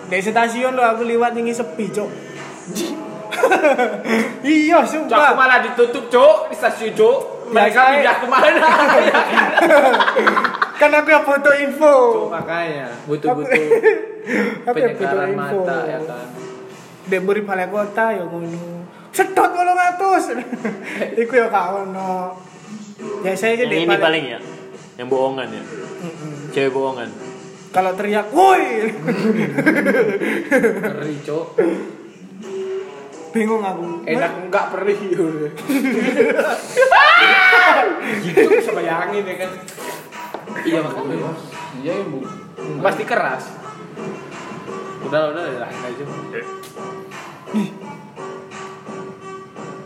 Speaker 1: Di stasiun lo aku liwat ini sepi cok. [LAUGHS] iya
Speaker 2: Cuk, aku
Speaker 1: sumpah.
Speaker 2: malah ditutup cuk di stasiun cuk
Speaker 1: Biasa,
Speaker 2: mereka
Speaker 1: eh.
Speaker 2: pindah kemana [LAUGHS] ya kan?
Speaker 1: [LAUGHS] Kan aku yang foto info.
Speaker 2: Cuk, makanya butuh-butuh
Speaker 1: [LAUGHS] Aku yang foto
Speaker 2: penyegaran
Speaker 1: info.
Speaker 2: mata ya kan
Speaker 1: Di buri balai kota ya ngono. Sedot kalau ngatus. [LAUGHS] Iku ya kau no. Ya saya sih
Speaker 3: Yang
Speaker 1: di
Speaker 3: ini paling ya. Yang bohongan ya.
Speaker 1: Mm-mm.
Speaker 3: Cewek bohongan.
Speaker 1: Kalau teriak, woi. [LAUGHS]
Speaker 2: perih cuk
Speaker 1: Bingung aku.
Speaker 2: enak enggak perih [LAUGHS] gitu bisa bayangin ya kan iya makanya
Speaker 4: Iya ibu.
Speaker 2: pasti keras udah udah lain aja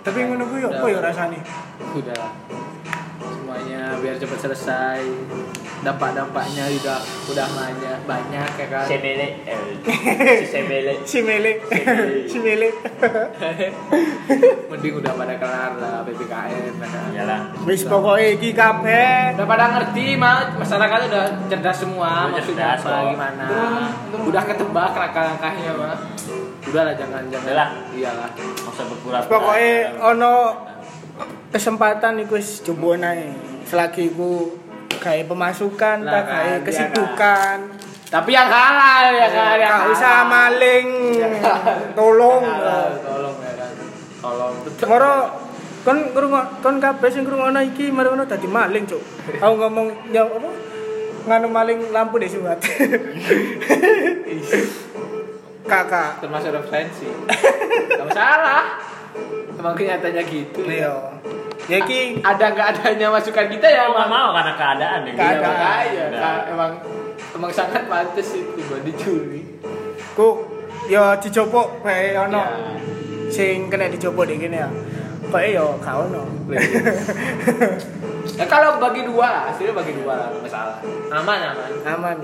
Speaker 1: Tapi ngono gue ya apa ya rasanya?
Speaker 2: udah semuanya biar cepat selesai dampak-dampaknya juga udah banyak banyak ya kan
Speaker 3: Semele. eh, Si semele.
Speaker 1: Si mele, [LAUGHS] si mele.
Speaker 2: [LAUGHS] mending udah pada kelar lah PPKM ya kan
Speaker 3: Iyalah.
Speaker 1: Wis pokoknya iki kabeh
Speaker 2: udah pada ngerti mah masyarakat udah cerdas semua
Speaker 3: Udah
Speaker 2: maksudnya
Speaker 3: cerdas,
Speaker 2: apa
Speaker 3: kok.
Speaker 2: gimana udah ketebak langkah-langkahnya mah udahlah jangan jangan
Speaker 3: Udahlah.
Speaker 2: iyalah
Speaker 3: Nggak usah berpura-pura.
Speaker 1: Pokoknya ono kesempatan iku wis jumbo nae. Selagi iku gawe pemasukan,
Speaker 2: Lah
Speaker 1: tak
Speaker 2: kan,
Speaker 1: gawe
Speaker 2: iya
Speaker 1: kesibukan.
Speaker 2: tapi yang halal ya kan
Speaker 3: Iya.
Speaker 2: yang
Speaker 1: Gak usah
Speaker 2: halal.
Speaker 1: maling.
Speaker 2: Yang
Speaker 1: Tolong.
Speaker 2: halal, tolong ya kan tolong tetep.
Speaker 1: Moro kon ngrungok kon kabeh sing ngrungokno iki mari ono dadi maling, Cuk. Aku ngomong ya apa? Nganu maling lampu deh surat. Kakak.
Speaker 2: termasuk referensi gak masalah emang kenyataannya gitu
Speaker 1: Leo. Ya iki
Speaker 2: ada nggak adanya masukan kita ya
Speaker 3: Aku Iya, nggak
Speaker 2: emang
Speaker 3: mau karena keadaan ya.
Speaker 1: Keadaan.
Speaker 2: Iya, makanya,
Speaker 3: Nah.
Speaker 2: Kak. emang emang sangat pantas itu buat dicuri
Speaker 1: ku ya dicopok kae ono.
Speaker 2: Ya.
Speaker 1: sing kena dicoba deh gini ya kok yo kau no
Speaker 2: Ya, Iya. kalau bagi dua, hasilnya bagi dua lah, nggak masalah. Aman aman.
Speaker 1: aman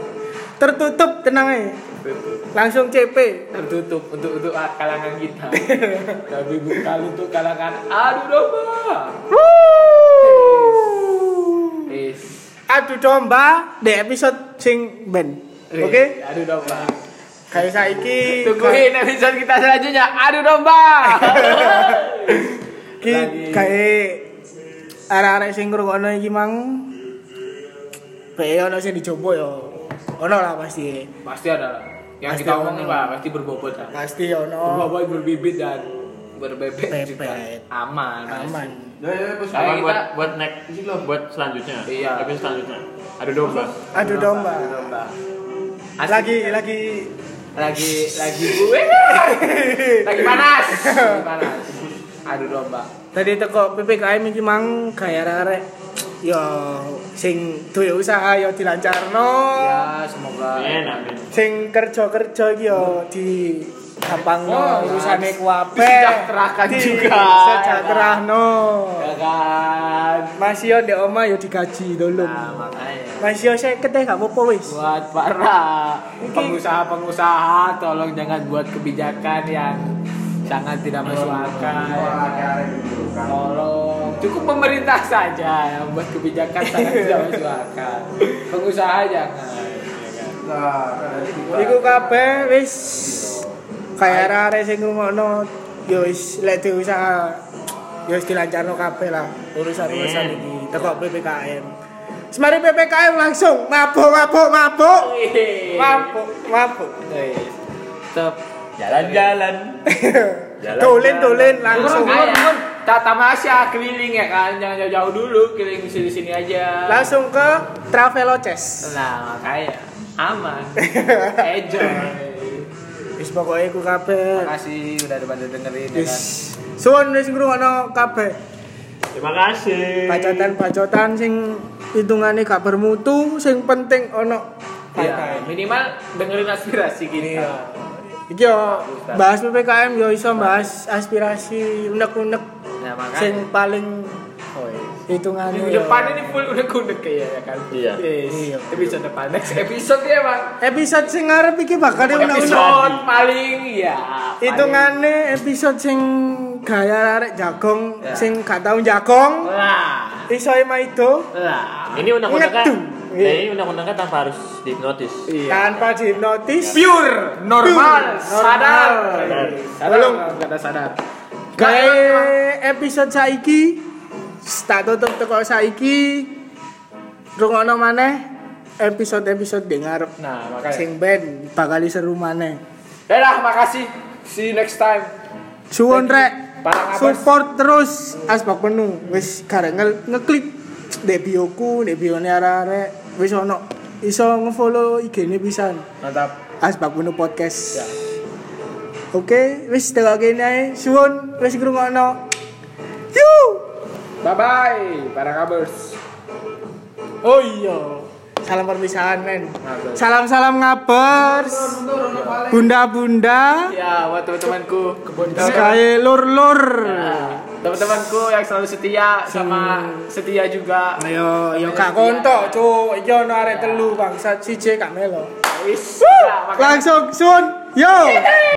Speaker 1: tertutup tenang aja
Speaker 2: Tertutup.
Speaker 1: langsung CP
Speaker 2: Tertutup untuk untuk kalangan
Speaker 1: [LAUGHS]
Speaker 2: kita. Tapi bukan untuk kalangan adu domba. Is.
Speaker 1: adu domba di episode sing ben oke kan-
Speaker 2: Adu domba.
Speaker 1: kayak saiki
Speaker 2: Tungguin episode kita selanjutnya adu
Speaker 1: [LAUGHS]
Speaker 2: domba.
Speaker 1: ki
Speaker 2: lagi.
Speaker 1: kayak arah-arah sing ngrungokno iki mang kayak ono sing dicoba yo ono lah pasti
Speaker 2: pasti ada lah. Yang
Speaker 1: Pasti
Speaker 2: kita
Speaker 1: ada.
Speaker 2: omongin lah pasti berbobot lah.
Speaker 1: pasti ono
Speaker 2: Berbobot berbibit dan berbebek juga.
Speaker 1: Bebek.
Speaker 2: Aman.
Speaker 1: aman
Speaker 5: ya ya bos
Speaker 2: Ayo kita-
Speaker 3: Sama Nah, buat buat next buat selanjutnya.
Speaker 2: Iya.
Speaker 3: Episode selanjutnya. Ada domba.
Speaker 1: adu domba
Speaker 2: Adu domba. Asik.
Speaker 1: lagi lagi
Speaker 2: lagi [LAUGHS] lagi gue lagi panas lagi panas aduh domba
Speaker 1: Tadi teko PPKM iki mang gaya arek yo sing duwe usaha yo dilancarno.
Speaker 2: ya semoga
Speaker 3: Enak, Min.
Speaker 1: Sing kerja-kerja iki yo di gampang
Speaker 2: Oh,
Speaker 1: no urusane
Speaker 2: nice.
Speaker 1: kuabe.
Speaker 2: Disejahterakan juga.
Speaker 1: Sejahterano.
Speaker 2: ya kan
Speaker 1: Masih yo ndek omah yo digaji dolong.
Speaker 2: nah makanya
Speaker 1: Masih yo saya keteh gak apa-apa wis.
Speaker 2: buat para pengusaha-pengusaha tolong jangan buat kebijakan yang sangat tidak masuk akal ya kan? tolong cukup pemerintah saja yang buat kebijakan sangat tidak masuk [LAUGHS] akal pengusaha jangan ya kan?
Speaker 1: Iku kabeh wis kaya arek-arek sing rumono ya wis lek di usaha ya wis dilancarno kabeh lah urusan-urusan
Speaker 3: Amin.
Speaker 1: iki teko PPKM. Semari PPKM langsung mabuk mabuk mabuk.
Speaker 2: Wih.
Speaker 1: Mabuk mabuk.
Speaker 2: Wih. Stop.
Speaker 3: Jalan-jalan.
Speaker 1: [LAUGHS]
Speaker 3: Jalan-jalan.
Speaker 1: Dolen-dolen langsung.
Speaker 2: Langsung turun. Tata Masya keliling ya kan, jangan jauh-jauh dulu, keliling sini-sini aja.
Speaker 1: Langsung ke Traveloces.
Speaker 2: Nah, makanya [LAUGHS] aman. Enjoy.
Speaker 1: Wis pokoke ku kabeh.
Speaker 2: Makasih udah pada dengerin ya kan.
Speaker 1: Wis suwun wis ngrungokno kabeh.
Speaker 3: Terima kasih.
Speaker 1: Pacotan-pacotan sing hitungannya gak bermutu, sing penting ono
Speaker 2: Ya, minimal dengerin aspirasi gini.
Speaker 1: Iki yo bahas PPKM yo iso bahas aspirasi unek-unek
Speaker 2: Nah, makanya
Speaker 1: sing paling
Speaker 2: Oh, iya.
Speaker 1: hitungannya.
Speaker 2: Minggu
Speaker 1: yo.
Speaker 2: depan ini full udah kudek kayaknya ya kan.
Speaker 3: Iya.
Speaker 2: Yes.
Speaker 1: Iya.
Speaker 2: Episode depan next episode ya, Bang.
Speaker 1: Episode sing ngarep iki bakal unek-unek.
Speaker 2: Episode paling ya. paling-
Speaker 1: Hitungane episode sing gaya arek jagong
Speaker 2: Ya.
Speaker 1: sing gak tau jagong
Speaker 2: Lah.
Speaker 1: iso e ema itu
Speaker 2: Lah.
Speaker 3: Ini undang-undangnya.
Speaker 1: Ngedu.
Speaker 3: Nah, ini undang-undangnya tanpa harus dihipnotis.
Speaker 2: Iya.
Speaker 1: tanpa dihipnotis.
Speaker 2: pure
Speaker 1: Pure,
Speaker 2: normal sadar
Speaker 1: normal.
Speaker 2: belum ada sadar
Speaker 1: Kae episode saiki tak tutup teko saiki rungokno maneh episode-episode ding ngarep
Speaker 2: nah makanya
Speaker 1: sing ben bakal seru maneh.
Speaker 2: ya lah makasih see you next time
Speaker 1: Suwon
Speaker 2: Thank you.
Speaker 1: rek.
Speaker 2: Parang abas.
Speaker 1: Support terus asbak penuh. Wis karek nge- ngeklik ndek bioku, ndek bione arek-arek wis ono iso ngefollow IG-ne pisan.
Speaker 2: mantap Ya.
Speaker 1: Asbak penuh podcast. Oke, wis tekoke nae. Suwon wis ngrungokno. Yuh!
Speaker 2: bye bye para kabers
Speaker 1: Oh iya. Salam perpisahan men.
Speaker 2: Ngabers.
Speaker 1: Salam-salam ngabers. Bunda-bunda.
Speaker 2: ya buat teman-temanku kebun Ya. teman
Speaker 1: Sekali lur-lur.
Speaker 2: teman-temanku yang selalu setia sama setia juga
Speaker 1: Ayo, yo kak kontok cuk. Iki ono arek telu bangsat siji kak melo.
Speaker 2: Wis. Ya, makasih.
Speaker 1: Langsung sun. Yo.